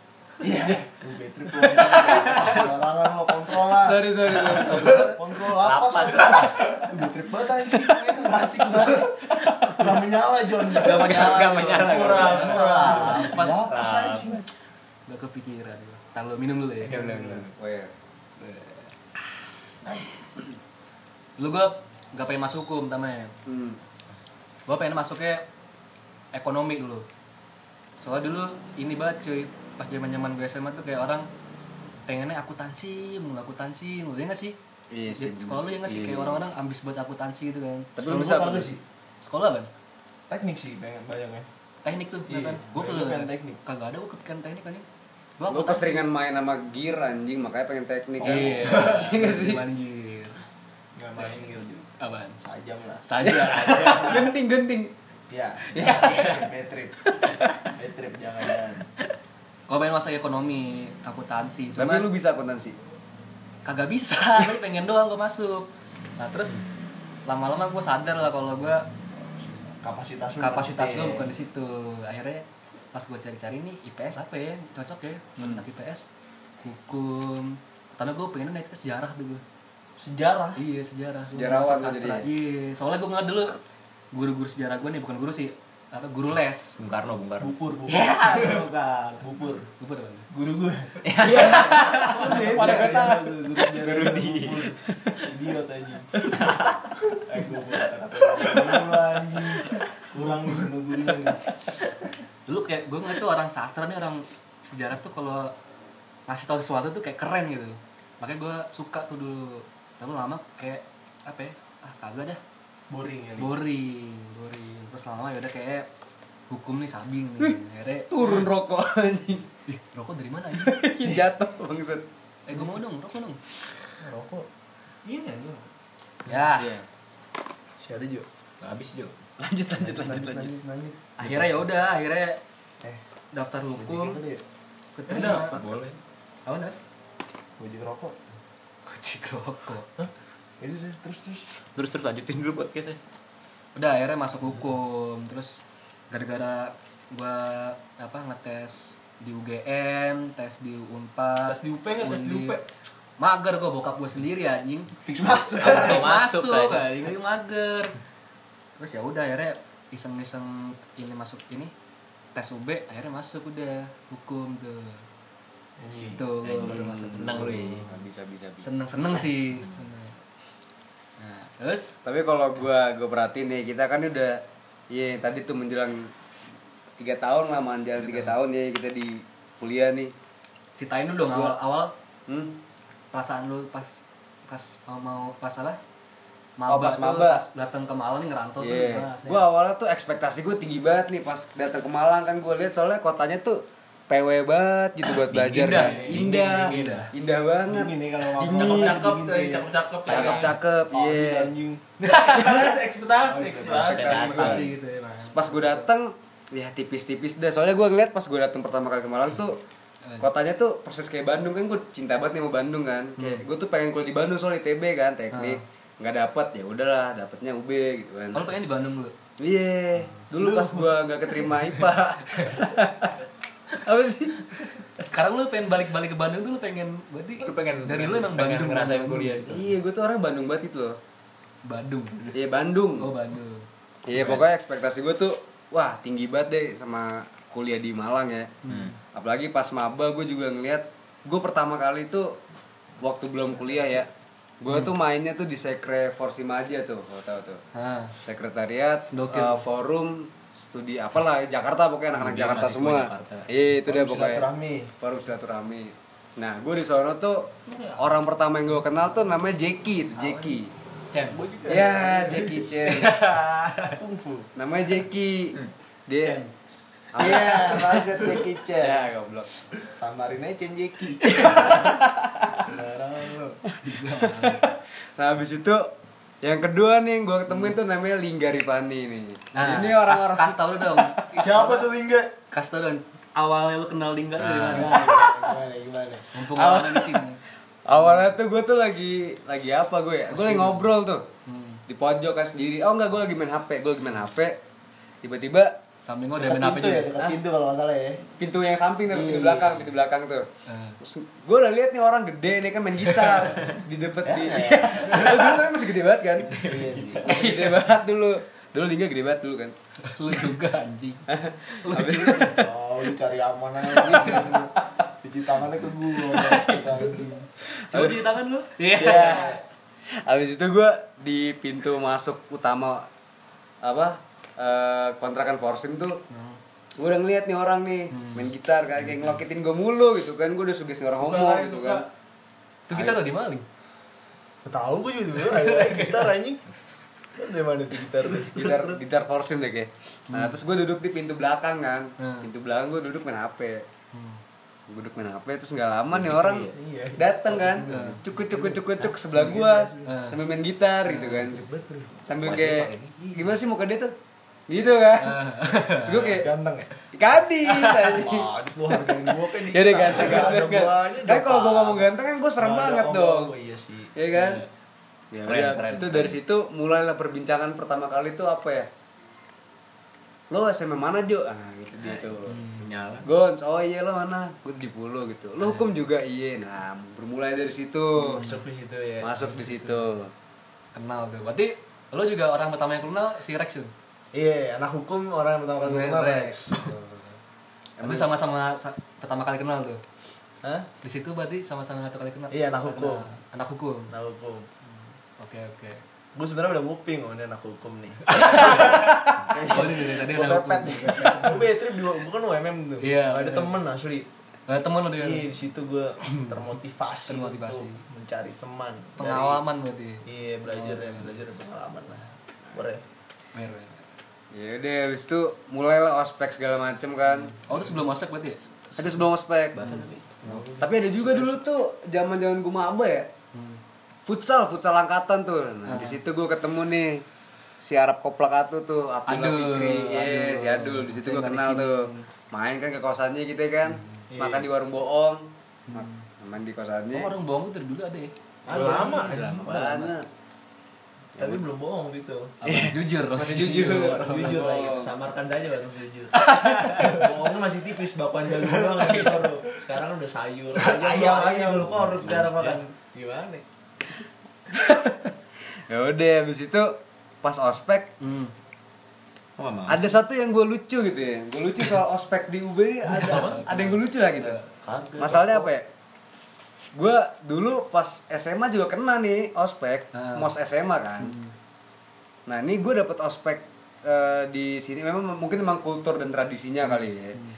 Speaker 4: Iya. Lu betrip lu. Larangan lo kontrol lah.
Speaker 1: Sorry sorry. sorry.
Speaker 4: Kontrol apa sih? Lu betrip banget anjing. Ngasih ngasih. Gak menyala John.
Speaker 3: gak menyala
Speaker 2: Gak menyala.
Speaker 3: kurang
Speaker 4: Gak
Speaker 3: salah
Speaker 4: salah.
Speaker 3: pas
Speaker 4: Lapas anjing.
Speaker 3: gak kepikiran gua Ntar lu minum dulu ya
Speaker 2: Iya, bener, bener.
Speaker 1: Oh iya.
Speaker 3: Nah. lu gua gak pengen masuk hukum tamanya
Speaker 1: Hmm.
Speaker 3: gua pengen masuknya ekonomi dulu soalnya dulu ini banget cuy pas zaman zaman gue SMA tuh kayak orang pengennya akuntansi mulu akuntansi mulu ya nggak sih
Speaker 1: Iya
Speaker 3: Di sekolah lu ya nggak sih kayak orang-orang ambis buat akuntansi gitu kan
Speaker 1: Tapi
Speaker 4: Sekolah
Speaker 1: lu
Speaker 4: gua
Speaker 1: bisa
Speaker 4: kagak
Speaker 1: apa
Speaker 4: sih?
Speaker 1: sih?
Speaker 3: sekolah kan
Speaker 4: Teknik sih pengen banyaknya.
Speaker 3: teknik tuh
Speaker 4: Iya,
Speaker 3: kan gue
Speaker 4: gua pengen teknik.
Speaker 3: kagak ada gue kepikiran teknik kan gue
Speaker 1: Lu keseringan main sama gear anjing makanya pengen teknik kan. <laughs>
Speaker 3: iya
Speaker 1: Iya nggak sih?
Speaker 3: manggil
Speaker 4: Gak main gitu.
Speaker 3: apaan
Speaker 4: Sajam lah.
Speaker 1: <laughs>
Speaker 3: saja aja
Speaker 1: Genting genting.
Speaker 4: Ya. Betrip. Betrip jangan jangan.
Speaker 3: gue pengen masuk ekonomi akuntansi
Speaker 1: Tapi
Speaker 3: cuman
Speaker 1: lu bisa akuntansi.
Speaker 3: kagak bisa <laughs> gue pengen doang gue masuk nah terus lama-lama gue sadar lah kalau gue
Speaker 4: Kapasitas lu.
Speaker 3: kapasitas gue
Speaker 1: iya.
Speaker 4: maksudnya.
Speaker 3: bukan di situ akhirnya pas gue cari-cari nih IPS apa ya yang cocok ya
Speaker 1: Hmm.
Speaker 3: anak IPS hukum karena gue pengen naik ke sejarah tuh gue
Speaker 4: sejarah.
Speaker 3: iya sejarah Gua
Speaker 1: Sejarawan
Speaker 3: masuk
Speaker 1: lu
Speaker 3: sastra.
Speaker 1: jadi.
Speaker 3: iya soalnya gue ngeliat dulu guru-guru sejarah gue nih bukan guru sih apa guru les
Speaker 2: Bung Karno, Bung Karno.
Speaker 4: Bubur, bubur.
Speaker 3: ya bukan
Speaker 4: Bubur.
Speaker 3: gue pada mana?
Speaker 4: Guru gue. Iya. Pada kata guru guru di. Idiot anjing. Eh gua buat kata-kata guru lah, anjing. Kurang nih guru gurunya nih.
Speaker 3: dulu kayak gue ngeliat tuh orang sastra nih orang sejarah tuh kalau ngasih tahu sesuatu tuh kayak keren gitu makanya gue suka tuh dulu lalu lama kayak apa ya ah kagak dah
Speaker 4: Boring ya. Li.
Speaker 3: boring boring terus lama ya udah kayak hukum nih sabing nih akhirnya
Speaker 1: Turun rokok anjing.
Speaker 3: ih rokok dari mana aja
Speaker 1: <laughs> Jatuh bangsat.
Speaker 3: eh gue mau dong rokok dong
Speaker 4: Rokok.
Speaker 5: Ini aja.
Speaker 3: ya
Speaker 1: Iya.
Speaker 4: Si ada juga.
Speaker 2: Nggak habis, Jo.
Speaker 1: Lanjut lanjut lanjut
Speaker 4: Lanjut
Speaker 1: lanjut.
Speaker 4: lanjut lanjut.
Speaker 3: akhirnya ya udah akhirnya
Speaker 4: Eh,
Speaker 3: daftar hukum
Speaker 4: Gojek kali ya?
Speaker 3: keterima
Speaker 2: Boleh.
Speaker 3: apa nih
Speaker 4: Gojek rokok.
Speaker 3: kucing rokok
Speaker 4: Itu deh, terus terus.
Speaker 2: Terus terus lanjutin dulu podcastnya.
Speaker 3: udah akhirnya masuk hukum terus gara-gara gua apa ngetes di UGM tes di Unpad
Speaker 5: Tes di UP nggak? Tes di
Speaker 3: Undip.
Speaker 5: UP?
Speaker 3: mager gua bokap gua sendiri anjing
Speaker 4: Fix masuk.
Speaker 2: Auto
Speaker 3: Terus
Speaker 2: masuk,
Speaker 3: masuk
Speaker 2: kan.
Speaker 3: anjing Gua mager terus ya udah akhirnya iseng-iseng ini masuk ini tes UB akhirnya masuk udah hukum tuh Gitu. itu Eh, gua baru masuk
Speaker 2: Seneng lu ya.
Speaker 1: Bisa bisa bisa.
Speaker 3: seneng seneng sih seneng. nah terus
Speaker 1: Tapi kalau gua gua perhatiin nih kita kan udah iya tadi tuh menjelang tiga tahun lah manjal tiga tahun ya kita di kuliah nih.
Speaker 3: ceritain dulu dong awal awal
Speaker 1: Hmm?
Speaker 3: perasaan lu pas pas mau, mau pas apa?
Speaker 1: Oh, pas
Speaker 3: tuh,
Speaker 1: maba.
Speaker 3: pas datang ke Malang nih ngerantau tuh
Speaker 1: Iya.
Speaker 3: gimana?
Speaker 1: Gue awalnya tuh ekspektasi gue tinggi banget nih pas datang ke Malang kan gue lihat soalnya kotanya tuh PW banget gitu buat belajar
Speaker 2: Indah,
Speaker 1: kan. Indah,
Speaker 3: dingin,
Speaker 1: indah,
Speaker 3: indah.
Speaker 1: banget.
Speaker 4: Dingin nih kalau ngomong.
Speaker 1: Dingin. ya.
Speaker 4: Dingin
Speaker 5: Cakep, tadi
Speaker 4: deh.
Speaker 2: Iya.
Speaker 5: cakep-cakep.
Speaker 1: Cakep-cakep,
Speaker 4: Oh,
Speaker 1: iya.
Speaker 4: anjing. Oh,
Speaker 5: Ekspektasi, ekspektasi.
Speaker 3: Ekspektasi gitu ya, Bang.
Speaker 1: Pas gue datang ya tipis-tipis deh. Soalnya gue ngeliat pas gue datang pertama kali ke Malang tuh kotanya tuh persis kayak Bandung kan gue cinta banget nih sama Bandung kan.
Speaker 3: Hmm.
Speaker 1: Kayak gue tuh pengen kuliah di Bandung soalnya ITB kan teknik nggak dapat ya udahlah dapatnya UB gitu kan.
Speaker 3: Oh, lu pengen di Bandung dulu.
Speaker 1: Iya, dulu pas gua nggak keterima IPA.
Speaker 3: <laughs>
Speaker 1: Apa sih?
Speaker 3: Sekarang lu pengen balik-balik ke Bandung tuh lu pengen berarti
Speaker 2: Lu pengen
Speaker 3: dari lu emang
Speaker 2: pengen
Speaker 3: Bandung Bandung.
Speaker 2: ngerasain
Speaker 3: gitu.
Speaker 2: kuliah di sana.
Speaker 1: Iya, gua tuh orang Bandung banget itu loh.
Speaker 3: Bandung.
Speaker 1: Iya, Bandung.
Speaker 3: Oh, Bandung.
Speaker 1: Iya, pokoknya ekspektasi gua tuh wah, tinggi banget deh sama kuliah di Malang ya. Apalagi pas maba gua juga ngeliat gua pertama kali tuh waktu belum kuliah ya. Gua tuh mainnya tuh di Sekre Forsimaja tuh, kalau tahu tuh.
Speaker 3: Hah.
Speaker 1: sekretariat,
Speaker 3: Sendokil.
Speaker 1: eh, forum studi apalah ya, Jakarta pokoknya anak-anak
Speaker 2: Dia
Speaker 1: Jakarta
Speaker 2: mahasiswa
Speaker 1: semua.
Speaker 2: Jakarta.
Speaker 1: Iya, itu
Speaker 4: Forum
Speaker 1: deh pokoknya.
Speaker 4: silaturahmi.
Speaker 1: Forum silaturahmi. Nah, gue di sono tuh orang pertama yang gue kenal tuh namanya Jeki, itu Jeki.
Speaker 3: Cen.
Speaker 1: Ya, Jeki Chen. namanya Jeki. Dia
Speaker 4: Iya, banget Jackie Chan.
Speaker 1: Ya, goblok.
Speaker 4: Samarin aja Chan <laughs> Jackie. Sembarangan lu.
Speaker 1: Nah, habis itu yang kedua nih yang gue ketemuin tuh namanya Lingga Rifani nih.
Speaker 3: Nah,
Speaker 1: ini orang-orang
Speaker 3: kas, kas tau lu dong.
Speaker 5: Siapa tuh Lingga?
Speaker 3: Kas tau dong. Awalnya lu kenal Lingga dari mana?
Speaker 4: Gimana, gimana, gimana?
Speaker 3: Mumpung awalnya di sini.
Speaker 1: awalnya tuh gue tuh lagi lagi apa gue ya? Gue lagi ngobrol tuh
Speaker 3: Hmm.
Speaker 1: di pojok kan sendiri. Oh enggak, gue lagi main HP, gue lagi main HP. Tiba-tiba
Speaker 3: Samping gua udah
Speaker 4: Dekat
Speaker 3: main apa
Speaker 4: pintu ya,
Speaker 3: juga.
Speaker 4: dekat pintu kalau nggak salah ya.
Speaker 1: pintu yang samping dan pintu
Speaker 4: Iya.
Speaker 1: belakang, pintu belakang tuh. gue udah lihat nih orang gede nih kan main gitar di depet di Iya. Padahal dulu kan masih gede banget kan
Speaker 4: Iya sih.
Speaker 1: masih gede banget dulu dulu lingga gede banget dulu kan
Speaker 3: Lu juga anjing.
Speaker 1: Habis-
Speaker 4: Oh, lu cari aman aja. Cuci tangannya ke gua. <laughs> kita ini.
Speaker 5: Coba di tangan lu.
Speaker 1: Iya. Habis itu gue di pintu masuk utama apa eh, kontrakan Forsim tuh gue udah ngeliat nih orang nih main gitar kan kayak ngelokitin gue mulu gitu kan gue udah sugesti orang
Speaker 5: Suka
Speaker 1: homo
Speaker 5: kali,
Speaker 1: gitu
Speaker 5: suka.
Speaker 1: kan
Speaker 3: Itu kita tuh di maling.
Speaker 4: Tahu gua juga dulu ayo-ayo gitar anjing.
Speaker 5: Dari mana tuh gitar?
Speaker 1: gitar gitar Forsim deh kayak
Speaker 5: Hmm.
Speaker 1: nah terus gue duduk di pintu belakang kan
Speaker 3: Hmm.
Speaker 1: pintu belakang gue duduk main HP Gua duduk main HP terus nggak lama nih orang
Speaker 5: Hmm. Iya.
Speaker 1: dateng kan cukut cukut cukut cuk sebelah gua
Speaker 3: Iya.
Speaker 1: sambil main gitar gitu kan sambil kayak gimana sih muka dia tuh gitu
Speaker 5: Iya.
Speaker 1: kan terus gua kayak
Speaker 4: Ganteng ya.
Speaker 1: kadit aja.
Speaker 4: Ah, lu hargain gua kan
Speaker 1: ya udah ganteng ganteng kan kan kalau gua ngomong ganteng kan gua serem banget dong
Speaker 4: Iya sih.
Speaker 1: ya kan ya
Speaker 2: Keren,
Speaker 1: udah
Speaker 2: keren,
Speaker 1: situ dari situ mulailah perbincangan pertama kali tuh apa ya lo SMA mana Jo ah gitu dia tuh
Speaker 2: Iya, Hmm. Nyala.
Speaker 1: Gons, oh iya lo mana? Gue 70 gitu. Lo hukum juga iya. Nah, bermulai dari situ.
Speaker 2: Hmm.
Speaker 5: Masuk di situ ya.
Speaker 1: Masuk di situ.
Speaker 3: Kenal tuh. Berarti lu juga orang pertama yang kenal si Rex tuh.
Speaker 4: Iya, anak hukum orang yang pertama kali
Speaker 1: Iya,
Speaker 4: Gitu.
Speaker 3: Rex.
Speaker 4: kenal Rex.
Speaker 3: Itu sama-sama sa- pertama kali kenal tuh.
Speaker 4: Hah?
Speaker 3: Di situ berarti sama-sama satu kali kenal.
Speaker 4: Iya, anak hukum.
Speaker 3: Kenal. Anak hukum.
Speaker 4: Anak hukum.
Speaker 3: Oke, oke.
Speaker 4: Gue sebenarnya udah nguping sama dia anak hukum nih.
Speaker 3: <laughs> Oh, ini dari tadi
Speaker 4: Gue
Speaker 3: anak
Speaker 4: pepet
Speaker 3: hukum.
Speaker 4: nih. Gue betrip di gue kan UMM tuh.
Speaker 3: Iya,
Speaker 4: Ada
Speaker 3: bener.
Speaker 4: temen asli.
Speaker 3: Nah, temen lu dia.
Speaker 4: Iya, di situ
Speaker 3: <clears throat>
Speaker 4: gue termotivasi.
Speaker 3: Termotivasi.
Speaker 4: untuk mencari teman. Dari-
Speaker 3: Pengalaman berarti.
Speaker 4: Iya, belajar ya, belajar dari pengalaman lah. Boleh.
Speaker 3: Wer, wer.
Speaker 1: Ya udah, habis itu mulailah ospek segala macem kan.
Speaker 3: Oh, itu sebelum ospek berarti ya?
Speaker 1: Itu sebelum ospek. Tapi ada juga dulu tuh zaman-zaman gue maba ya. Futsal, futsal angkatan tuh.
Speaker 3: Ah.
Speaker 1: Nah, di situ gue ketemu nih si Arab Koplak Atu tuh, Abdullah
Speaker 3: Adul,
Speaker 1: Fikri, Iya,
Speaker 3: Adul.
Speaker 1: si Adul di situ gue
Speaker 3: Saya nggak di
Speaker 1: kenal
Speaker 3: sini.
Speaker 1: tuh. Main kan ke kosannya gitu ya kan. Makan di warung bohong. Makan di kosannya.
Speaker 3: Oh, orang bohong itu dari dulu ada ya?
Speaker 5: Ah, Udah lama.
Speaker 1: Udah lama banget.
Speaker 4: Tapi belum bohong gitu.
Speaker 3: Apa? jujur.
Speaker 1: Masih jujur.
Speaker 4: Jujur lah,
Speaker 1: bohong.
Speaker 4: kita samarkan aja baru
Speaker 3: <laughs>
Speaker 4: jujur. Bohongnya masih tipis, bapak jago doang gitu. Sekarang udah
Speaker 3: <laughs>
Speaker 4: sayur, ayam, ayam, lu korup sekarang makan.
Speaker 3: iya.
Speaker 4: Gimana?
Speaker 1: Ya udah, habis itu pas ospek
Speaker 3: Hmm.
Speaker 2: Oh, mama.
Speaker 1: ada satu yang gue lucu gitu ya gue lucu soal ospek di UB ini ada ada yang gue lucu lah gitu
Speaker 2: Kagak.
Speaker 1: masalahnya apa ya gue dulu pas SMA juga kena nih ospek
Speaker 3: Ah. Hmm.
Speaker 1: mos SMA kan nah ini gue dapet ospek eh, di sini memang mungkin memang kultur dan tradisinya kali ya
Speaker 3: Hmm.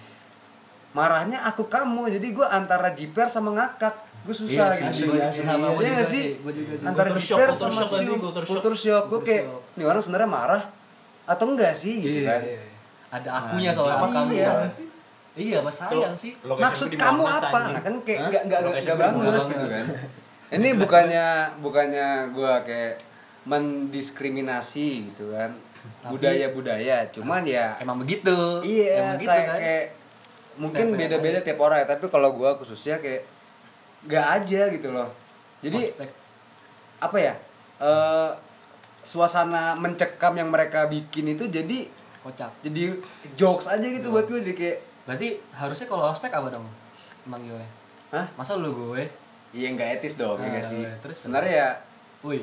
Speaker 1: marahnya aku kamu jadi gue antara jiper sama ngakak gue susah
Speaker 3: Iya
Speaker 1: gitu
Speaker 3: sih, gua- sama gua
Speaker 1: Iya
Speaker 3: juga
Speaker 1: nggak
Speaker 3: sih,
Speaker 1: sih?
Speaker 3: gua juga sih.
Speaker 1: antara
Speaker 4: Culture shock,
Speaker 1: jiper
Speaker 4: culture
Speaker 1: sama
Speaker 4: shock gak sih?
Speaker 1: siu
Speaker 4: Culture shock.
Speaker 1: kultur shock gue
Speaker 3: Culture
Speaker 1: kayak
Speaker 3: shock.
Speaker 1: ini orang sebenarnya marah atau enggak sih gitu
Speaker 3: Iya,
Speaker 1: kan
Speaker 3: iya. Ada akunya soalnya
Speaker 4: apa
Speaker 3: apa kamu.
Speaker 4: iya?
Speaker 3: Iya, mas sayang sih.
Speaker 1: maksud kamu apa nah kan kayak nggak nggak nggak- nggak bagus
Speaker 3: Nggak
Speaker 1: gitu <laughs> kan ini bukannya bukannya gue kayak mendiskriminasi gitu kan
Speaker 3: Tapi-
Speaker 1: budaya budaya cuman ya
Speaker 3: Emang begitu.
Speaker 1: iya
Speaker 3: Emang gitu
Speaker 1: kayak,
Speaker 3: kan.
Speaker 1: kayak mungkin
Speaker 3: Kayak
Speaker 1: beda beda tiap orang ya tapi kalau gue khususnya kayak nggak aja gitu loh jadi
Speaker 3: Ospek.
Speaker 1: apa ya eh, suasana mencekam yang mereka bikin itu jadi
Speaker 3: kocak.
Speaker 1: jadi jokes aja gitu buat gue jadi kayak
Speaker 3: Berarti harusnya kalau ospek apa dong? Manggilnya.
Speaker 1: Hah?
Speaker 3: Masa lu gue?
Speaker 1: Iya nggak etis dong, ya
Speaker 3: Ah,
Speaker 1: nggak sih.
Speaker 3: terus?
Speaker 1: Sebenarnya ya,
Speaker 3: Woi.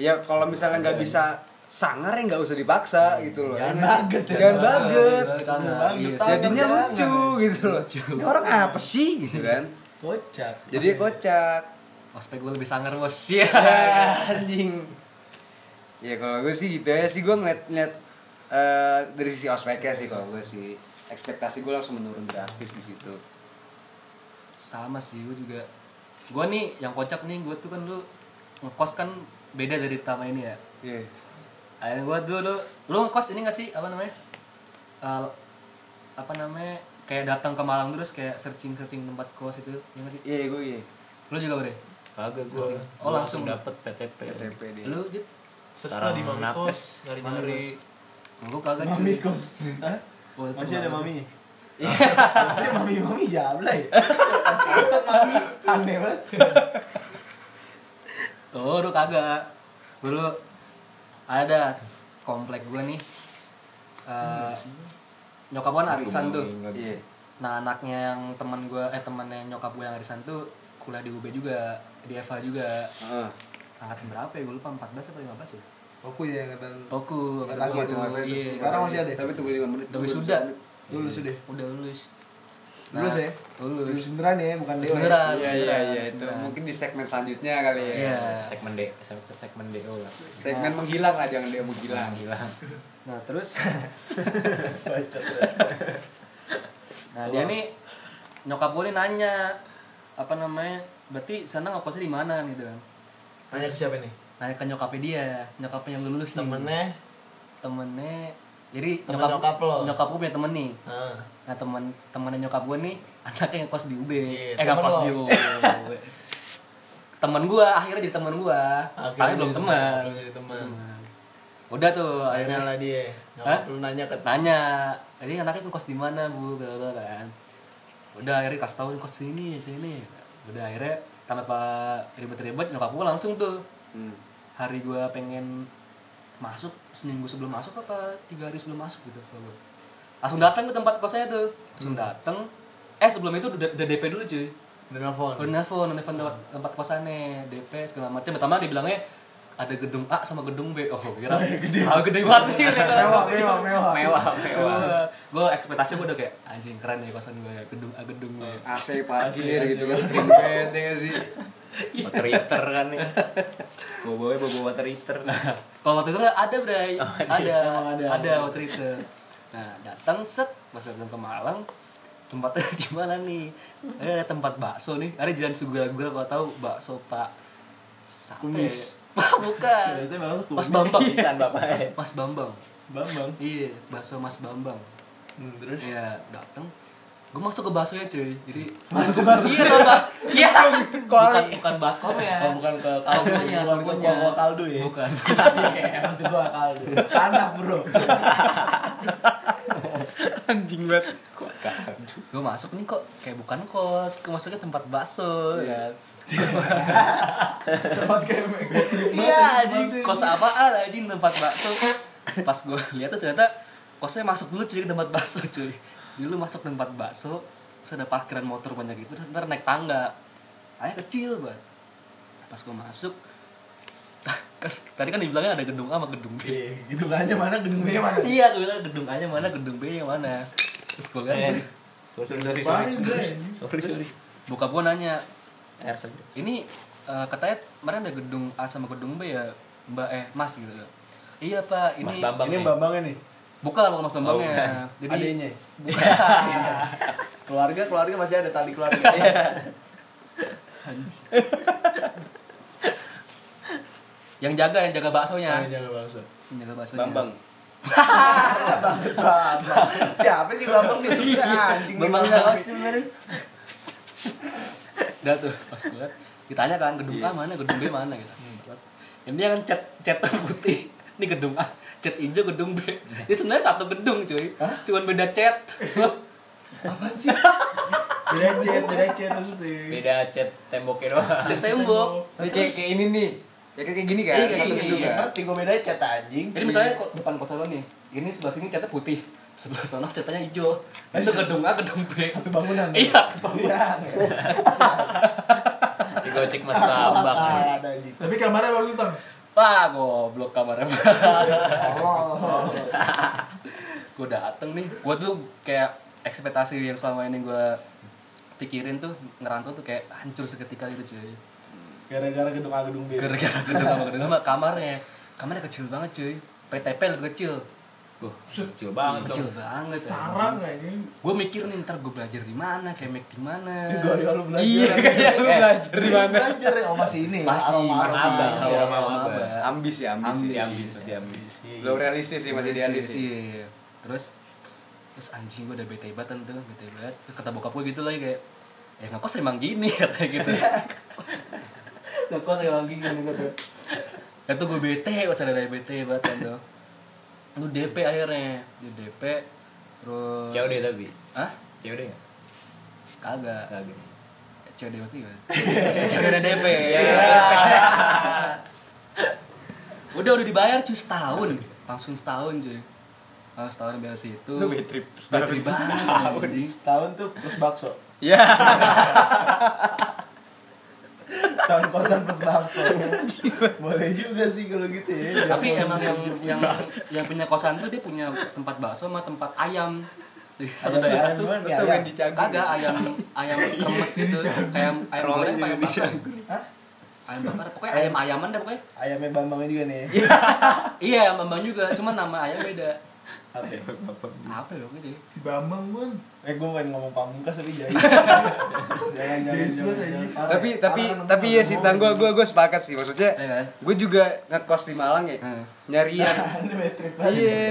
Speaker 1: ya kalau misalnya nggak bisa sangar ya nggak usah dipaksa gitu loh. Ya
Speaker 3: Jangan
Speaker 1: nggak sih?
Speaker 4: banget ya.
Speaker 1: jangan banget.
Speaker 3: Jangan
Speaker 4: banget.
Speaker 3: banget. Iya, sih.
Speaker 1: Jadinya
Speaker 4: Jangan.
Speaker 1: lucu gitu loh. Ini orang apa sih gitu kan?
Speaker 4: Kocak.
Speaker 1: Jadi kocak.
Speaker 3: Ospek gue lebih sangar bos. <laughs> Iya.
Speaker 1: Ya, anjing. Ya kalau gue sih gitu ya sih gue ngeliat ngeliat eh, dari sisi ospeknya sih kalau gue sih ekspektasi gue langsung menurun drastis di situ.
Speaker 3: sama sih gue juga gue nih yang kocak nih gue tuh kan dulu ngekos kan beda dari pertama ini ya
Speaker 1: Iya.
Speaker 3: akhirnya gue dulu lu ngekos ini gak sih apa namanya Eh, apa namanya kayak datang ke Malang terus kayak searching searching tempat kos itu ya gak sih
Speaker 1: Iya, gue iya.
Speaker 3: lu juga bre
Speaker 2: kagak gua
Speaker 3: Oh,
Speaker 2: Gua
Speaker 3: langsung.
Speaker 2: dapet PTP
Speaker 1: KTP
Speaker 4: Iya.
Speaker 1: dia.
Speaker 3: lu jut
Speaker 5: Search
Speaker 2: Sekarang
Speaker 5: lah di Mami
Speaker 2: napes.
Speaker 5: Kos, nyari-nyari
Speaker 3: gue kagak
Speaker 4: Mami kos. Hah?
Speaker 3: Oh, itu
Speaker 4: Masih ada
Speaker 3: malam.
Speaker 4: mami. Masih mami mami jablay. Asal mami aneh banget.
Speaker 3: Tuh, lu kagak. Dulu ada komplek gua nih. Eh nyokap gua kan arisan tuh.
Speaker 1: Iya.
Speaker 3: Nah, anaknya yang teman gua eh temannya nyokap gua yang arisan tuh kuliah di UB juga, di FH juga.
Speaker 1: Heeh.
Speaker 3: Angkatan berapa ya? Gua lupa 14 apa 15 ya?
Speaker 4: Aku ya angkatan.
Speaker 3: Toku,
Speaker 4: Angkatan
Speaker 3: angkatan
Speaker 4: gua
Speaker 3: gitu.
Speaker 4: tuh,
Speaker 1: angkatan
Speaker 3: Iya.
Speaker 1: tuh.
Speaker 4: Sekarang masih ada. ya?
Speaker 1: Tapi tunggu 5 menit.
Speaker 3: Tapi sudah.
Speaker 4: Lulus sudah.
Speaker 3: Udah lulus. Nah,
Speaker 4: Lulus ya? Lulus
Speaker 3: Lulus.
Speaker 4: beneran ya, bukan
Speaker 3: Lulus
Speaker 4: Leo. ya?
Speaker 3: beneran.
Speaker 1: Iya, iya, iya. Itu
Speaker 3: Beneran.
Speaker 1: mungkin di segmen selanjutnya kali ya.
Speaker 3: Iya.
Speaker 2: segmen D se- segmen DO lah
Speaker 1: Segmen menghilang lah, jangan dia menghilang.
Speaker 2: hilang
Speaker 3: Nah, terus
Speaker 4: <laughs> Bacot.
Speaker 3: Nah dia
Speaker 4: Los.
Speaker 3: nih nyokap gue nih nanya apa namanya berarti sana ngekosnya di mana kan gitu kan
Speaker 5: Nanya ke siapa nih?
Speaker 3: nanya ke nyokapnya dia nyokapnya yang lulus nih
Speaker 5: Temennya
Speaker 3: temennya jadi
Speaker 5: Temen nyokap lo.
Speaker 3: nyokap gue punya temen nih
Speaker 5: Heeh.
Speaker 3: nah temen temennya nyokap gue nih <laughs> anaknya yang kos di UB
Speaker 5: Iya,
Speaker 3: eh nggak
Speaker 5: temen
Speaker 3: kos
Speaker 5: lo.
Speaker 3: di UB temen gue akhirnya jadi temen gue tapi belum teman
Speaker 5: teman.
Speaker 3: udah tuh
Speaker 5: Tanya
Speaker 3: akhirnya
Speaker 5: lah dia.
Speaker 3: Hah?
Speaker 5: Nyokap lu nanya ke
Speaker 3: nanya ini anaknya ngekos di mana bu bla bla bla, kan udah akhirnya kasih tahu kos sini sini udah akhirnya tanpa ribet-ribet nyokap gue langsung tuh
Speaker 1: Hmm.
Speaker 3: hari gue pengen masuk seminggu sebelum masuk apa tiga hari sebelum masuk gitu setahu gua. langsung datang ke tempat kosnya tuh langsung datang eh sebelum itu udah, udah DP dulu cuy
Speaker 5: udah nelfon.
Speaker 3: udah nelfon udah nelfon tempat, tempat kosannya DP segala macam pertama dibilangnya ada gedung A sama gedung B oh kira sama gedung banget nih, ternyata.
Speaker 4: Mewah, mewah, mewah.
Speaker 2: mewah mewah
Speaker 3: gue ekspektasi gue udah kayak anjing keren nih kosan gue gedung ah, gedung gue
Speaker 4: Oh.
Speaker 1: AC parkir gitu kan string bed ya nggak sih.
Speaker 2: water heater kan ya bawa bawa bawa water heater
Speaker 3: kalau waktu itu kan ada bray ada ada,
Speaker 4: Oh, ada.
Speaker 3: waktu itu nah datang set pas datang ke Malang <laughs> tempatnya gimana nih Eh, ada tempat bakso nih ada jalan sugura-gura kalau tahu bakso pak Siapa ya?
Speaker 4: Kumis.
Speaker 3: pak bukan
Speaker 4: Biasanya bakso kumis.
Speaker 3: mas bambang
Speaker 2: pisan bapaknya
Speaker 3: mas bambang
Speaker 4: Bambang.
Speaker 3: iya bakso mas bambang
Speaker 4: Hmm, terus
Speaker 3: iya datang gue masuk ke baksonya cuy jadi
Speaker 4: masuk masuk.
Speaker 3: Iya, Bang. Iya. Bukan bukan baskomnya.
Speaker 4: Oh, bukan ke
Speaker 3: Tahunya,
Speaker 4: bukan ke
Speaker 3: tahunya.
Speaker 4: kuah kaldu ya.
Speaker 3: Bukan.
Speaker 4: Iya, masuk gua kaldu. Sanak, Bro.
Speaker 1: Anjing banget.
Speaker 3: Gue masuk nih kok kayak bukan kos, gue masuknya tempat bakso
Speaker 4: Iya.
Speaker 3: ya.
Speaker 4: Tempat kayak
Speaker 3: Iya, anjing. Kos apaan anjing tempat bakso. Pas gue lihat tuh ternyata kosnya masuk dulu cuy ke tempat bakso cuy. Dulu masuk tempat bakso, terus ada parkiran motor banyak gitu, terus ntar naik tangga. Tanya kecil banget. Pas gue masuk, <laughs> kan, tadi kan dibilangnya ada gedung A sama gedung B.
Speaker 4: Iya, gedungannya mana? Gedungnya mana?
Speaker 3: iya gue bilang gedung A nya mana gedung B nya mana terus gue lihat
Speaker 2: Eh. sorry
Speaker 4: Bahaya, Bro.
Speaker 2: sorry sorry
Speaker 3: buka gue nanya
Speaker 2: air saja
Speaker 3: ini eh, katanya kemarin ada gedung A sama gedung B ya mbak eh mas gitu ya iya pak ini
Speaker 2: Mas Bambang
Speaker 4: Ini
Speaker 2: nih.
Speaker 4: Bambangnya nih.
Speaker 3: bukan bukan mas bambangnya
Speaker 2: Oh, bukan.
Speaker 3: jadi iya.
Speaker 4: Adenya.
Speaker 3: bukan
Speaker 4: Keluarga, keluarga masih ada tali keluarga.
Speaker 3: <laughs> yang jaga yang jaga baksonya
Speaker 4: Jangan bakso.
Speaker 3: yang jaga baksonya
Speaker 1: <laughs> Bambang.
Speaker 4: Bambang. Siapa sih Bambang nih? Anjing.
Speaker 3: bambang nggak sebenarnya <laughs> udah tuh pas gue liat, ditanya kan gedung A
Speaker 2: Iya.
Speaker 3: mana gedung B mana gitu
Speaker 2: Hmm.
Speaker 3: Ini dia kan cat cat <laughs> putih. Ini gedung A, cat hijau gedung B.
Speaker 2: Hmm.
Speaker 3: Ini sebenarnya satu gedung, cuy. Cuman beda
Speaker 4: <laughs>
Speaker 3: cat. Apaan sih?
Speaker 4: Derajat, derajat itu tuh.
Speaker 2: beda cat temboknya doang
Speaker 3: Cat tembok.
Speaker 1: Ini kayak kayak ini nih. Ya kayak kayak gini kan.
Speaker 3: Iya, kayak
Speaker 1: Satu
Speaker 3: gini,
Speaker 1: gedung
Speaker 4: Iya,
Speaker 1: kan.
Speaker 4: ngerti gue bedanya cat anjing.
Speaker 3: Jadi misalnya kok depan kosan lo nih, ini sebelah sini catnya putih, sebelah sana catnya hijau. Itu gedung A, gedung B.
Speaker 4: satu bangunan.
Speaker 3: Iya.
Speaker 4: Iya.
Speaker 2: digocek mas bambang
Speaker 4: Ah, Ada anjing.
Speaker 5: Tapi kamarnya bagus, Bang.
Speaker 3: Wah, goblok kamarnya. <laughs>
Speaker 4: Oh.
Speaker 3: gue dateng nih gue tuh kayak ekspektasi yang selama ini gue pikirin tuh ngerantau tuh kayak hancur seketika gitu
Speaker 4: Iya.
Speaker 3: cuy
Speaker 4: <laughs> Gara-gara gedung A gedung B.
Speaker 3: gara-gara gedung sama gedung sama kamarnya kamarnya kecil banget cuy PTP lebih kecil
Speaker 2: Wah, kecil banget
Speaker 3: kecil
Speaker 2: dong.
Speaker 3: banget
Speaker 5: Sarang kayaknya.
Speaker 3: gue mikir nih ntar gue belajar di mana kemek di mana
Speaker 4: Ini Eh, gaya lu belajar.
Speaker 1: Iya, kayak lu
Speaker 3: Eh,
Speaker 1: belajar di mana?
Speaker 4: Belajar ya, oh masih ini. ya?
Speaker 3: masih
Speaker 4: Oh,
Speaker 3: masih
Speaker 2: maba.
Speaker 3: masih
Speaker 2: Iya, maba.
Speaker 3: maba.
Speaker 1: Ambis ya, ambis.
Speaker 2: Masih
Speaker 1: ya.
Speaker 2: ambis, masih ambis.
Speaker 1: Belum realistis sih, masih idealis sih.
Speaker 3: Iya, iya. terus terus anjing gue udah bete banget tuh bete banget terus kata bokap gue gitu lagi kayak ya ngekos emang gini <laughs> katanya
Speaker 1: <laughs>
Speaker 3: gitu ngekos emang gini gitu ya tuh gue bete gue cara bete banget kan tuh lu DP akhirnya lu DP terus
Speaker 2: COD tapi.
Speaker 3: ah
Speaker 2: COD enggak?
Speaker 3: kagak
Speaker 2: Kagak.
Speaker 3: COD waktu itu COD dan DP <laughs> udah udah dibayar cuy setahun langsung setahun cuy Langsung setahun biar situ
Speaker 1: Lu bad trip
Speaker 3: Bad trip banget anjing.
Speaker 4: Setahun tuh plus bakso.
Speaker 2: Iya.
Speaker 1: Ya,
Speaker 4: Setahun kosan plus bakso. Boleh juga sih kalau gitu ya.
Speaker 3: tapi
Speaker 4: Jangan
Speaker 3: emang yang
Speaker 4: hidup
Speaker 3: yang yang punya kosan tuh dia punya tempat bakso sama tempat ayam Jadi satu
Speaker 4: Ayam-
Speaker 3: daerah
Speaker 4: ayam
Speaker 3: tuh
Speaker 4: gimana?
Speaker 1: itu
Speaker 4: ayam.
Speaker 1: yang dicagur.
Speaker 3: kagak ayam ayam kremes gitu kayak ayam
Speaker 1: Rolling
Speaker 3: goreng apa
Speaker 1: di
Speaker 3: ayam
Speaker 1: Indonesia.
Speaker 3: bakar
Speaker 4: Hah?
Speaker 3: ayam bakar pokoknya ayam ayaman deh pokoknya
Speaker 4: Ayamnya Bambangnya juga nih.
Speaker 3: iya bambang juga cuman nama ayam beda
Speaker 4: Apa ya?
Speaker 3: apa ya pokoknya deh
Speaker 5: Si Bambang pun.
Speaker 4: Eh gue pengen ngomong pamungkas tapi jangan. jangan jangan jangan.
Speaker 5: Jelas banget,
Speaker 4: jangan.
Speaker 5: anjing.
Speaker 4: Parah ya.
Speaker 1: tapi tapi
Speaker 4: Parah,
Speaker 1: tapi ya
Speaker 4: parah, parah.
Speaker 1: sih, tang gue gue sepakat sih maksudnya.
Speaker 3: Iya kan?
Speaker 1: Gue juga ngekos di Malang ya,
Speaker 3: Hmm.
Speaker 1: nyari yang
Speaker 4: Nah, <laughs> Ini bad trip aja.
Speaker 1: Iya.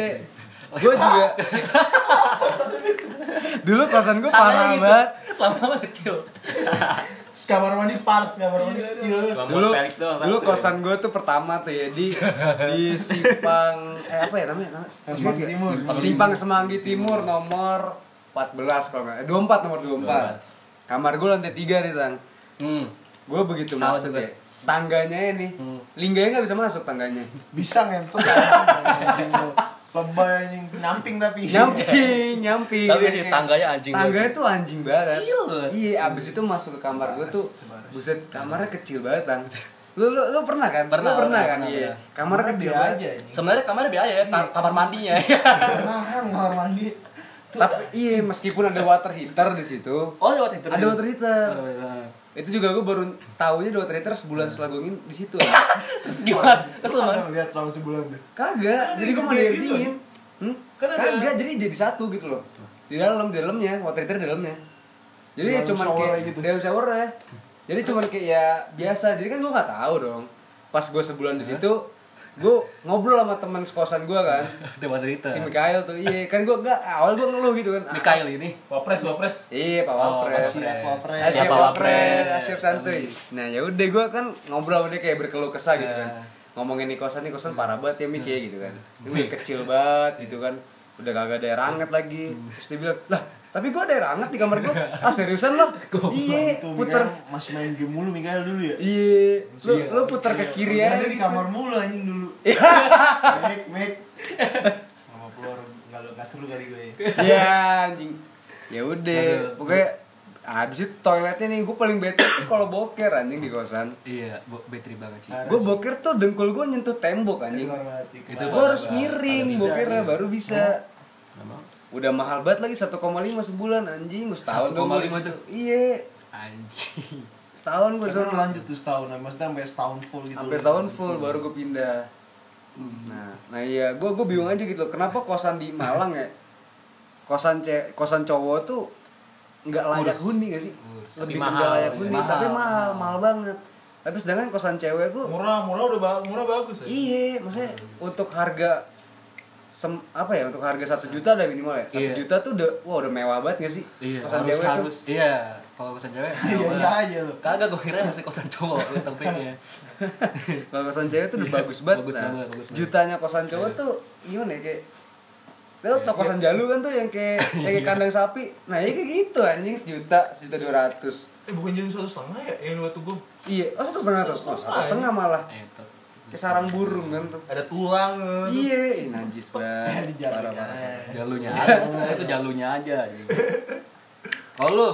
Speaker 1: Gue juga. Dulu kosan gue
Speaker 3: gitu.
Speaker 1: parah banget.
Speaker 3: lama-lama kecil
Speaker 4: Terus kamar mandi parts, kamar
Speaker 1: Iya,
Speaker 4: mandi kecil.
Speaker 2: Cuma
Speaker 1: Dulu
Speaker 2: mau Felix doang.
Speaker 1: dulu
Speaker 2: satu. ya.
Speaker 1: kosan gue tuh pertama tuh ya di di Simpang eh apa ya namanya? namanya?
Speaker 4: Simpang
Speaker 1: Simpang-
Speaker 4: Timur.
Speaker 1: Simpang, Simpang Semanggi Timur nomor 14 kalau nggak eh, 24 nomor 24. Kamar gue lantai 3 nih, Tang.
Speaker 3: hmm.
Speaker 1: Gue begitu
Speaker 3: Tahu
Speaker 1: masuk
Speaker 3: tuh,
Speaker 1: ya. Tangganya ini, lingganya nggak bisa masuk tangganya.
Speaker 4: Bisa ngentot. Lebay anjing, nyamping tapi. <laughs>
Speaker 1: Nyamping, nyamping.
Speaker 3: tapi sih
Speaker 1: Kayak-
Speaker 3: tangganya anjing
Speaker 1: Iya, Tangganya tuh anjing banget.
Speaker 3: Kecil banget.
Speaker 1: Iya, abis itu masuk ke kamar gue tuh, buset kamarnya kecil banget tang. Lu lu, lu pernah kan? Lu
Speaker 3: Pernah,
Speaker 1: pernah
Speaker 3: pernah,
Speaker 1: kan?
Speaker 3: pernah,
Speaker 1: Iya.
Speaker 3: pernah.
Speaker 1: Kamarnya
Speaker 4: Kamar
Speaker 1: kecil
Speaker 4: kecil
Speaker 1: banget.
Speaker 4: aja ini.
Speaker 3: sebenarnya kamarnya biasa ya
Speaker 1: Iya.
Speaker 3: ta- kamar mandinya
Speaker 4: Mahal kamar mandi.
Speaker 1: Tapi iya, meskipun ada water heater di situ,
Speaker 3: <laughs> oh lewat itu
Speaker 1: ada water heater.
Speaker 3: Heeh.
Speaker 1: Itu juga gue baru taunya ada water heater sebulan setelah gue ngin- di
Speaker 3: <laughs>
Speaker 1: situ.
Speaker 3: terus gimana terus lu mana?
Speaker 4: lihat selama sebulan deh.
Speaker 1: Kagak, jadi gue mau
Speaker 5: gede
Speaker 1: dingin.
Speaker 5: gitu.
Speaker 1: Hmm?
Speaker 5: Kan ada-
Speaker 1: Kagak, jadi jadi satu gitu loh. Di dalam, di dalamnya, water heater di dalamnya. Jadi ya
Speaker 4: Dalam
Speaker 1: cuman
Speaker 4: shower
Speaker 1: kayak
Speaker 4: gitu.
Speaker 1: dalam shower ya. Jadi cuman kayak ya biasa. Jadi kan gue nggak tahu dong. Pas gue sebulan di situ, gue ngobrol sama teman sekosan gue kan.
Speaker 3: ada water heater
Speaker 1: Si Mikael tuh, iya kan gue nggak awal gue ngeluh gitu kan. Ah,
Speaker 3: Mikael ini
Speaker 5: Wapres, wapres.
Speaker 1: Iya, Pak
Speaker 3: Oh,
Speaker 1: Wapres.
Speaker 3: Wapres.
Speaker 1: Eh,
Speaker 4: Wapres.
Speaker 2: Siapa
Speaker 1: Siapa
Speaker 2: Wapres?
Speaker 1: Wapres? Asyik santuy. Nah, ya udah gue kan ngobrol sama dia kayak berkeluh kesah gitu kan.
Speaker 4: Iya.
Speaker 3: Nah.
Speaker 1: Ngomongin nih kosan nih kosan parah banget ya Mik ya gitu kan. Ini udah kecil banget gitu kan. Udah kagak ada air anget lagi.
Speaker 4: Hmm.
Speaker 1: Terus dia bilang, "Lah, tapi gue ada air anget di kamar
Speaker 4: <laughs>
Speaker 1: gue." Ah, seriusan lo? Iya,
Speaker 4: Itu
Speaker 1: puter.
Speaker 4: puter masih main game mulu Mikael dulu ya.
Speaker 1: Iya, lu
Speaker 4: Iya.
Speaker 1: lu puter ke kiri
Speaker 4: Iya,
Speaker 1: aja
Speaker 4: dia di
Speaker 1: gitu.
Speaker 4: kamar mulu anjing dulu. Mek, mek. Mama keluar enggak lu enggak seru kali gue.
Speaker 1: <laughs> Iya, anjing. Ya udah,
Speaker 4: Iya,
Speaker 3: Aduh.
Speaker 1: pokoknya habis itu toiletnya nih gue paling bete tuh kalau boker anjing di kosan.
Speaker 3: iya bo- bateri banget sih
Speaker 4: Parah
Speaker 1: Gue
Speaker 4: sih.
Speaker 1: boker tuh dengkul gue nyentuh tembok
Speaker 4: Itu
Speaker 1: anjing.
Speaker 4: luar banget sih.
Speaker 3: Itu
Speaker 1: Gue
Speaker 3: baru-
Speaker 1: harus
Speaker 3: baru-
Speaker 1: miring,
Speaker 3: baru bisa,
Speaker 1: bokernya
Speaker 3: iya. Oh,
Speaker 1: baru bisa. Udah mahal banget lagi 1,5 sebulan anjing, gua setahun dong gua
Speaker 3: 1,5
Speaker 1: di situ.
Speaker 3: tuh.
Speaker 1: Iya, <laughs>
Speaker 3: anjing
Speaker 1: setahun gue
Speaker 4: Terus
Speaker 1: disana
Speaker 4: kan lanjut tuh setahun, maksudnya sampai setahun full gitu.
Speaker 1: Sampai setahun full baru gue pindah. Nah, nah iya, gue gue bingung aja gitu loh. Kenapa kosan di Malang ya? Kosan ce kosan cowok tuh nggak layak
Speaker 3: Kurus.
Speaker 1: huni gak sih?
Speaker 3: Kurus.
Speaker 1: Lebih
Speaker 2: Tapi
Speaker 1: mahal,
Speaker 2: mahal,
Speaker 1: layak
Speaker 2: iya.
Speaker 1: huni,
Speaker 3: Mahal,
Speaker 1: tapi mahal,
Speaker 3: mahal.
Speaker 1: mahal banget. Tapi sedangkan kosan cewek tuh
Speaker 5: Murah, murah udah ba- murah bagus. ya.
Speaker 1: Iya, maksudnya
Speaker 3: Hmm.
Speaker 1: untuk harga sem apa ya untuk harga satu juta ada minimal ya satu
Speaker 3: Iya.
Speaker 1: juta tuh udah wah udah mewah banget gak sih
Speaker 3: Iya,
Speaker 1: kosan
Speaker 3: harus,
Speaker 1: cewek
Speaker 3: harus.
Speaker 1: tuh
Speaker 3: Iya, kalau kosan cewek.
Speaker 4: Iya
Speaker 3: mewah.
Speaker 4: iya aja lu.
Speaker 3: Kagak gue kira masih kosan cowok lu tempatnya.
Speaker 1: kalau kosan cewek tuh udah bagus banget
Speaker 3: Iya, bagus
Speaker 1: nah,
Speaker 3: banget, Iya. bagus
Speaker 1: jutanya kosan cowok tuh gimana ya kayak Lo
Speaker 3: Iya,
Speaker 1: tau kosan jalu kan tuh yang
Speaker 3: <laughs>
Speaker 1: kayak yang kayak kandang sapi nah ya kayak gitu anjing sejuta sejuta dua ratus
Speaker 5: Eh bukan jadi satu setengah ya yang waktu gue
Speaker 1: iya oh satu setengah ratus oh satu setengah malah
Speaker 3: Eh, tuh.
Speaker 1: kayak sarang burung kan tuh
Speaker 5: ada tulang. eh.
Speaker 1: iya ih, najis banget
Speaker 4: Di jalan.
Speaker 1: parah parah
Speaker 3: Jalunya aja
Speaker 1: <laughs>
Speaker 3: sebenarnya itu jalunya aja. anjing. Kalau lu,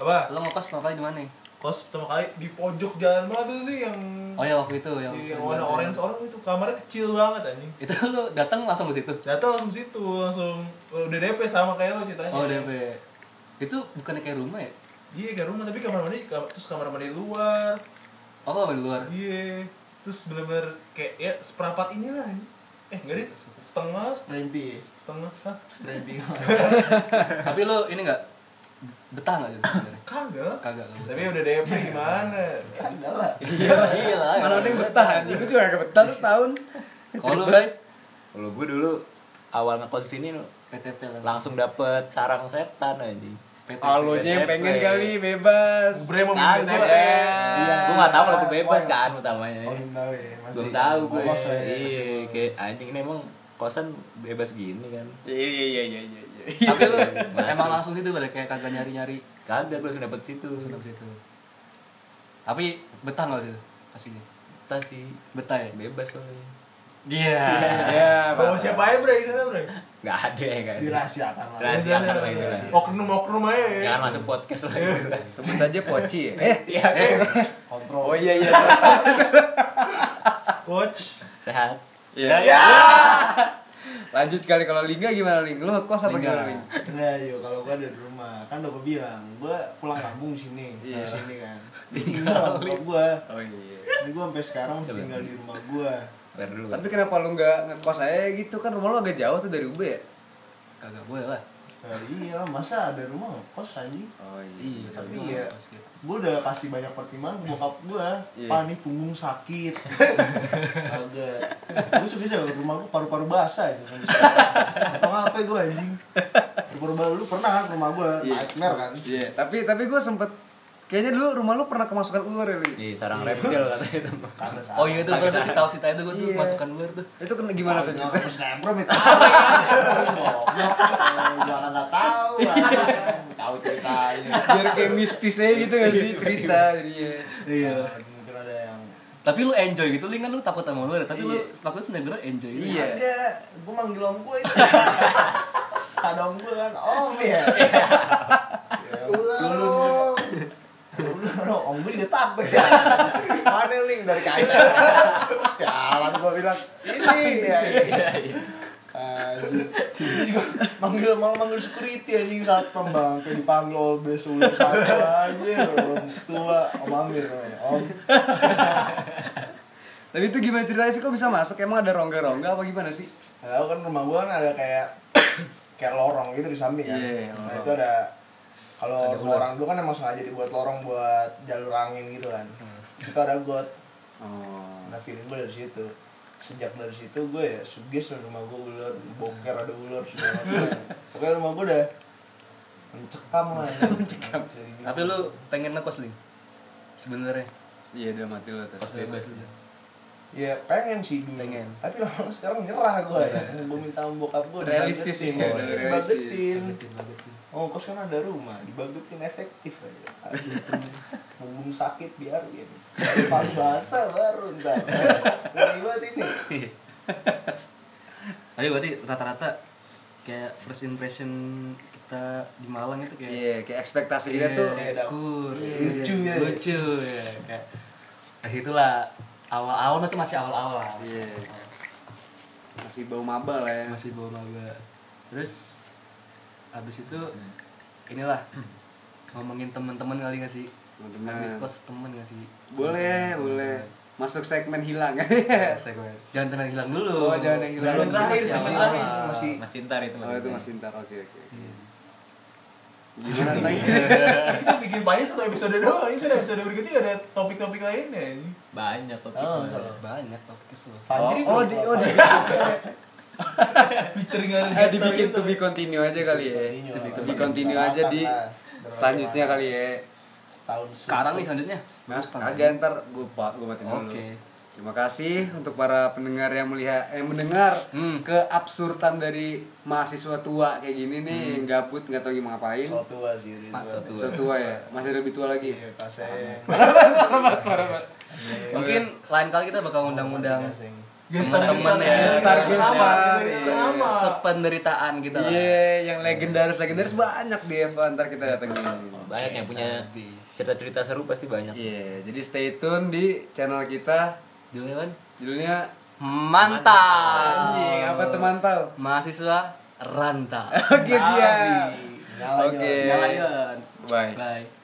Speaker 5: Apa?
Speaker 3: lu ngekos pertama kali di mana?
Speaker 1: Hmm.
Speaker 5: Kos pertama kali di pojok jalan mana tuh sih yang
Speaker 3: Oh ya waktu itu yang
Speaker 5: di
Speaker 1: Iya,
Speaker 3: sering
Speaker 5: warna
Speaker 3: banget.
Speaker 5: orange orang itu kamarnya kecil banget anjing.
Speaker 3: Itu lu datang langsung ke situ.
Speaker 5: Datang langsung situ langsung oh, udah DP sama kayak lo ceritanya.
Speaker 3: Oh, DP. Itu bukannya kayak rumah ya?
Speaker 5: Iya kayak rumah tapi kamar mandi kam- terus kamar mandi luar.
Speaker 3: Oh, kalau di luar.
Speaker 1: Iya.
Speaker 5: Iya. Terus bener-bener kayak ya seperempat inilah anjing. eh enggak deh setengah
Speaker 4: Rempi ya?
Speaker 5: setengah Hah?
Speaker 4: Rempi
Speaker 3: Tapi lu ini enggak betah enggak gitu sebenarnya?
Speaker 5: kagak
Speaker 3: Kagak lu.
Speaker 5: tapi udah DP gimana
Speaker 4: Enggak lah
Speaker 3: Iya, iya lah.
Speaker 1: Mana ada yang betah anjing, gue juga gak betah tuh setahun
Speaker 3: Kalau lu Bray,
Speaker 2: Kalau gue dulu awal ngekos di sini
Speaker 3: PTP langsung.
Speaker 2: langsung dapet sarang setan anjing.
Speaker 3: PTP.
Speaker 1: Alonya yang pengen kali, bebas ya.
Speaker 5: Bre mau
Speaker 2: Nah,
Speaker 5: minum
Speaker 2: gue,
Speaker 5: DP
Speaker 1: Iya.
Speaker 2: gue gak tau kalau gue bebas kan utamanya.
Speaker 4: Oh belum tahu ya masih
Speaker 2: Belum tahu gue.
Speaker 4: polos lah ya, masih
Speaker 2: Iya,
Speaker 4: polos.
Speaker 2: kayak anjing ini emang kosan bebas gini kan.
Speaker 1: Iya, iya, iya, iya, iya
Speaker 3: Tapi lu
Speaker 2: Masuk.
Speaker 3: emang langsung situ Bray kayak kagak nyari-nyari
Speaker 2: Kagak gue langsung dapet situ.
Speaker 3: langsung dari situ. Tapi betah enggak situ? Pastinya.
Speaker 2: Tas sih
Speaker 3: Betah ya?
Speaker 2: bebas soalnya.
Speaker 3: Iya.
Speaker 1: Iya,
Speaker 5: bawa siapa aja bre di sana bre
Speaker 2: Gak ada ya kan.
Speaker 4: Dirahasiakan lah
Speaker 2: Rahasiakan lah itu
Speaker 4: <laughs>
Speaker 2: lah.
Speaker 5: oknum oknum aja ya.
Speaker 2: Jangan masuk podcast lagi.
Speaker 1: <laughs> Sebut saja poci ya Eh,
Speaker 2: Iya.
Speaker 5: eh
Speaker 4: Kontrol
Speaker 1: oh iya, iya
Speaker 5: coach
Speaker 2: Sehat.
Speaker 1: Iya, iya Lanjut kali, kalau Lingga gimana Ling? Lu ngekos apa
Speaker 3: Lingga.
Speaker 1: gimana Ling?
Speaker 4: Nah, yuk kalau gua ada di rumah, kan udah gua bilang, gua pulang kampung sini,
Speaker 1: Iya.
Speaker 4: dari sini kan. Tinggal rumah gua.
Speaker 1: Oh iya
Speaker 4: Ini gua sampai sekarang masih
Speaker 2: Coba.
Speaker 4: tinggal di rumah gua.
Speaker 2: Bar dulu.
Speaker 1: Tapi kenapa lu gak ngekos aja gitu? Kan rumah lu agak jauh tuh dari UB ya?
Speaker 3: Kagak boleh lah.
Speaker 4: Nah, iya, masa ada rumah kos anjing?
Speaker 1: Oh
Speaker 3: Iya,
Speaker 4: Tapi
Speaker 3: kagak
Speaker 4: iya.
Speaker 3: boleh pas gitu.
Speaker 4: Gua udah kasih banyak pertimbangan ke bokap gua,
Speaker 1: Iya.
Speaker 4: "Pa, nih punggung <laughs> sakit. Agak. Gua suka bisa ke rumah gua paru-paru basah aja. Atau apa gua anjing? Paru-paru basah lu pernah kan ke rumah gua,
Speaker 1: Iya.
Speaker 4: nightmare kan?
Speaker 1: Iya, tapi tapi gue sempet Kayaknya dulu rumah lu pernah kemasukan ular ya, Ling?
Speaker 2: Di sarang reptil katanya itu.
Speaker 4: Kagak
Speaker 3: Oh iya tuh
Speaker 2: Kagak
Speaker 3: kalau
Speaker 2: salah.
Speaker 3: cerita-cerita itu gue tuh
Speaker 1: Nah, Iya.
Speaker 3: masukkan luar tuh.
Speaker 1: Itu kena gimana tuh?
Speaker 4: Jangan hapus snapgram itu. Jangan nggak tahu. ah. Tahu ceritanya.
Speaker 1: Biar kayak mistis aja gitu gak sih cerita ya. jadinya
Speaker 4: Iya. Mungkin ada yang.
Speaker 3: Tapi lu enjoy gitu, Lin kan lu takut sama luar, tapi lu
Speaker 1: Iya.
Speaker 3: takut sebenarnya enjoy. gitu.
Speaker 1: Iya.
Speaker 4: Ada. Gue manggil om gue <laughs> itu. Ada om gue kan. Om ya. Ya, Belum. Belum. Om gue juga takut ya. Mana link dari kain? Sialan gue bilang ini ya. ini. Anjir. Ini juga manggil malah manggil security anjing saat pembang kayak dipanggil all best ular satu aja om tua om Amir namanya. om
Speaker 1: Tapi itu gimana ceritanya sih kok bisa masuk? Emang ada rongga-rongga apa gimana sih?
Speaker 4: Nah, tahu kan rumah gua kan ada kayak <coughs> kayak lorong gitu di samping kan.
Speaker 1: Iya,
Speaker 4: nah,
Speaker 1: lorong.
Speaker 4: itu ada kalau
Speaker 3: Ada
Speaker 4: rumah orang dulu kan emang sengaja dibuat lorong buat jalur angin gitu kan.
Speaker 1: Hmm.
Speaker 4: Situ ada got.
Speaker 1: Oh.
Speaker 4: Nah, feeling gua dari situ. Sejak dari situ gue ya sugis lah rumah gua ular, boker ada ular
Speaker 1: <laughs>
Speaker 4: segala macam. Pokoknya rumah gua udah mencekam lah.
Speaker 1: <laughs>
Speaker 4: mencekam.
Speaker 3: Tapi lu pengen ngekos, Lin. Sebenarnya
Speaker 1: Iya udah mati lo tuh.
Speaker 2: Pas bebas.
Speaker 4: Ya pengen sih dulu.
Speaker 3: Pengen.
Speaker 4: Tapi lama sekarang nyerah gua ya. Gua minta sama bokap gua
Speaker 1: Iya. Realistis sih,
Speaker 4: dibagetin.
Speaker 1: ya, realistis.
Speaker 4: Dibagetin.
Speaker 3: Bagetin, bagetin.
Speaker 4: Oh, kos kan ada rumah, dibagetin efektif aja. Aduh, mumpung sakit biarin. Kalau palu basah baru ntar. Ini buat ini.
Speaker 3: Iya. <laughs> Tapi berarti rata-rata kayak first impression kita di Malang itu kayak
Speaker 1: Iya, kayak ekspektasi kita tuh
Speaker 4: Iya.
Speaker 3: kan kurs
Speaker 4: Lucu ya.
Speaker 3: lucu ya kayak dari situlah awal-awal itu masih awal-awal masih,
Speaker 1: Iya. masih bau maba lah ya.
Speaker 3: masih bawa maba terus habis itu inilah <clears throat> ngomongin temen-temen kali gak sih
Speaker 1: Teman-teman.
Speaker 3: habis kos temen gak sih
Speaker 1: Boleh, boleh. Masuk segmen hilang. Iya.
Speaker 3: Iya, Saya gue. jangan temen hilang dulu
Speaker 1: Oh, jangan yang hilang.
Speaker 4: Segmen terakhir,
Speaker 3: Masih
Speaker 4: segmen
Speaker 3: awal-awal.
Speaker 4: terakhir. Masih-
Speaker 2: Mas Cintar itu
Speaker 1: <laughs> Oh, itu
Speaker 2: Cintar.
Speaker 1: masih ntar. Oke, oke. oke. Gimana lagi?
Speaker 5: kita bikin paling satu episode doang itu di episode berikutnya ada topik-topik lainnya anjing.
Speaker 2: Banyak topik.
Speaker 4: Oh, salah.
Speaker 3: banyak topik loh
Speaker 4: Fajri
Speaker 1: Oh, oh,
Speaker 4: belum
Speaker 1: di-
Speaker 4: apa-apa.
Speaker 1: oh, di-
Speaker 5: featuring ada
Speaker 1: Eh, <laughs> dibikin to be continue aja kali ya.
Speaker 4: Continue
Speaker 1: To be-
Speaker 4: lah.
Speaker 1: To be continue aja di
Speaker 4: Lah, berapa
Speaker 1: selanjutnya
Speaker 4: lama?
Speaker 1: kali ya.
Speaker 4: Setahun
Speaker 3: sekarang nih selanjutnya
Speaker 1: Nah,
Speaker 3: Bagus tanggal.
Speaker 1: agak ntar gue gue matiin dulu.
Speaker 3: Oke.
Speaker 1: Terima kasih untuk para pendengar yang melihat eh mendengar
Speaker 3: Hmm.
Speaker 1: keabsurdan dari mahasiswa tua kayak gini nih yang gabut nggak tahu mau ngapain.
Speaker 4: So tua sih Ridwan.
Speaker 2: So tua.
Speaker 1: Mahasiswa tua ya, masih lebih tua lagi.
Speaker 4: Iya, kaseng.
Speaker 1: Iya.
Speaker 3: mungkin lain kali kita bakal undang-undang
Speaker 4: Kaseng.
Speaker 3: Temen-temen ya.
Speaker 1: Star Gestar.
Speaker 5: sama gitu.
Speaker 3: sependeritaan kita
Speaker 1: Iya,
Speaker 3: lah
Speaker 1: yang legendaris legendaris banyak di Eva ntar kita datengin.
Speaker 2: Banyak yang punya
Speaker 3: Sabi.
Speaker 2: cerita-cerita seru pasti banyak.
Speaker 1: Iya, jadi stay tune di channel kita
Speaker 3: Judulnya kan?
Speaker 1: judulnya
Speaker 3: Mantap.
Speaker 1: anjing apa teman tahu.
Speaker 3: Mahasiswa rantau.
Speaker 1: Oke siap.
Speaker 4: Nyala, nyala.
Speaker 1: Oke.
Speaker 3: Nyalain.
Speaker 1: Bye.
Speaker 3: Bye.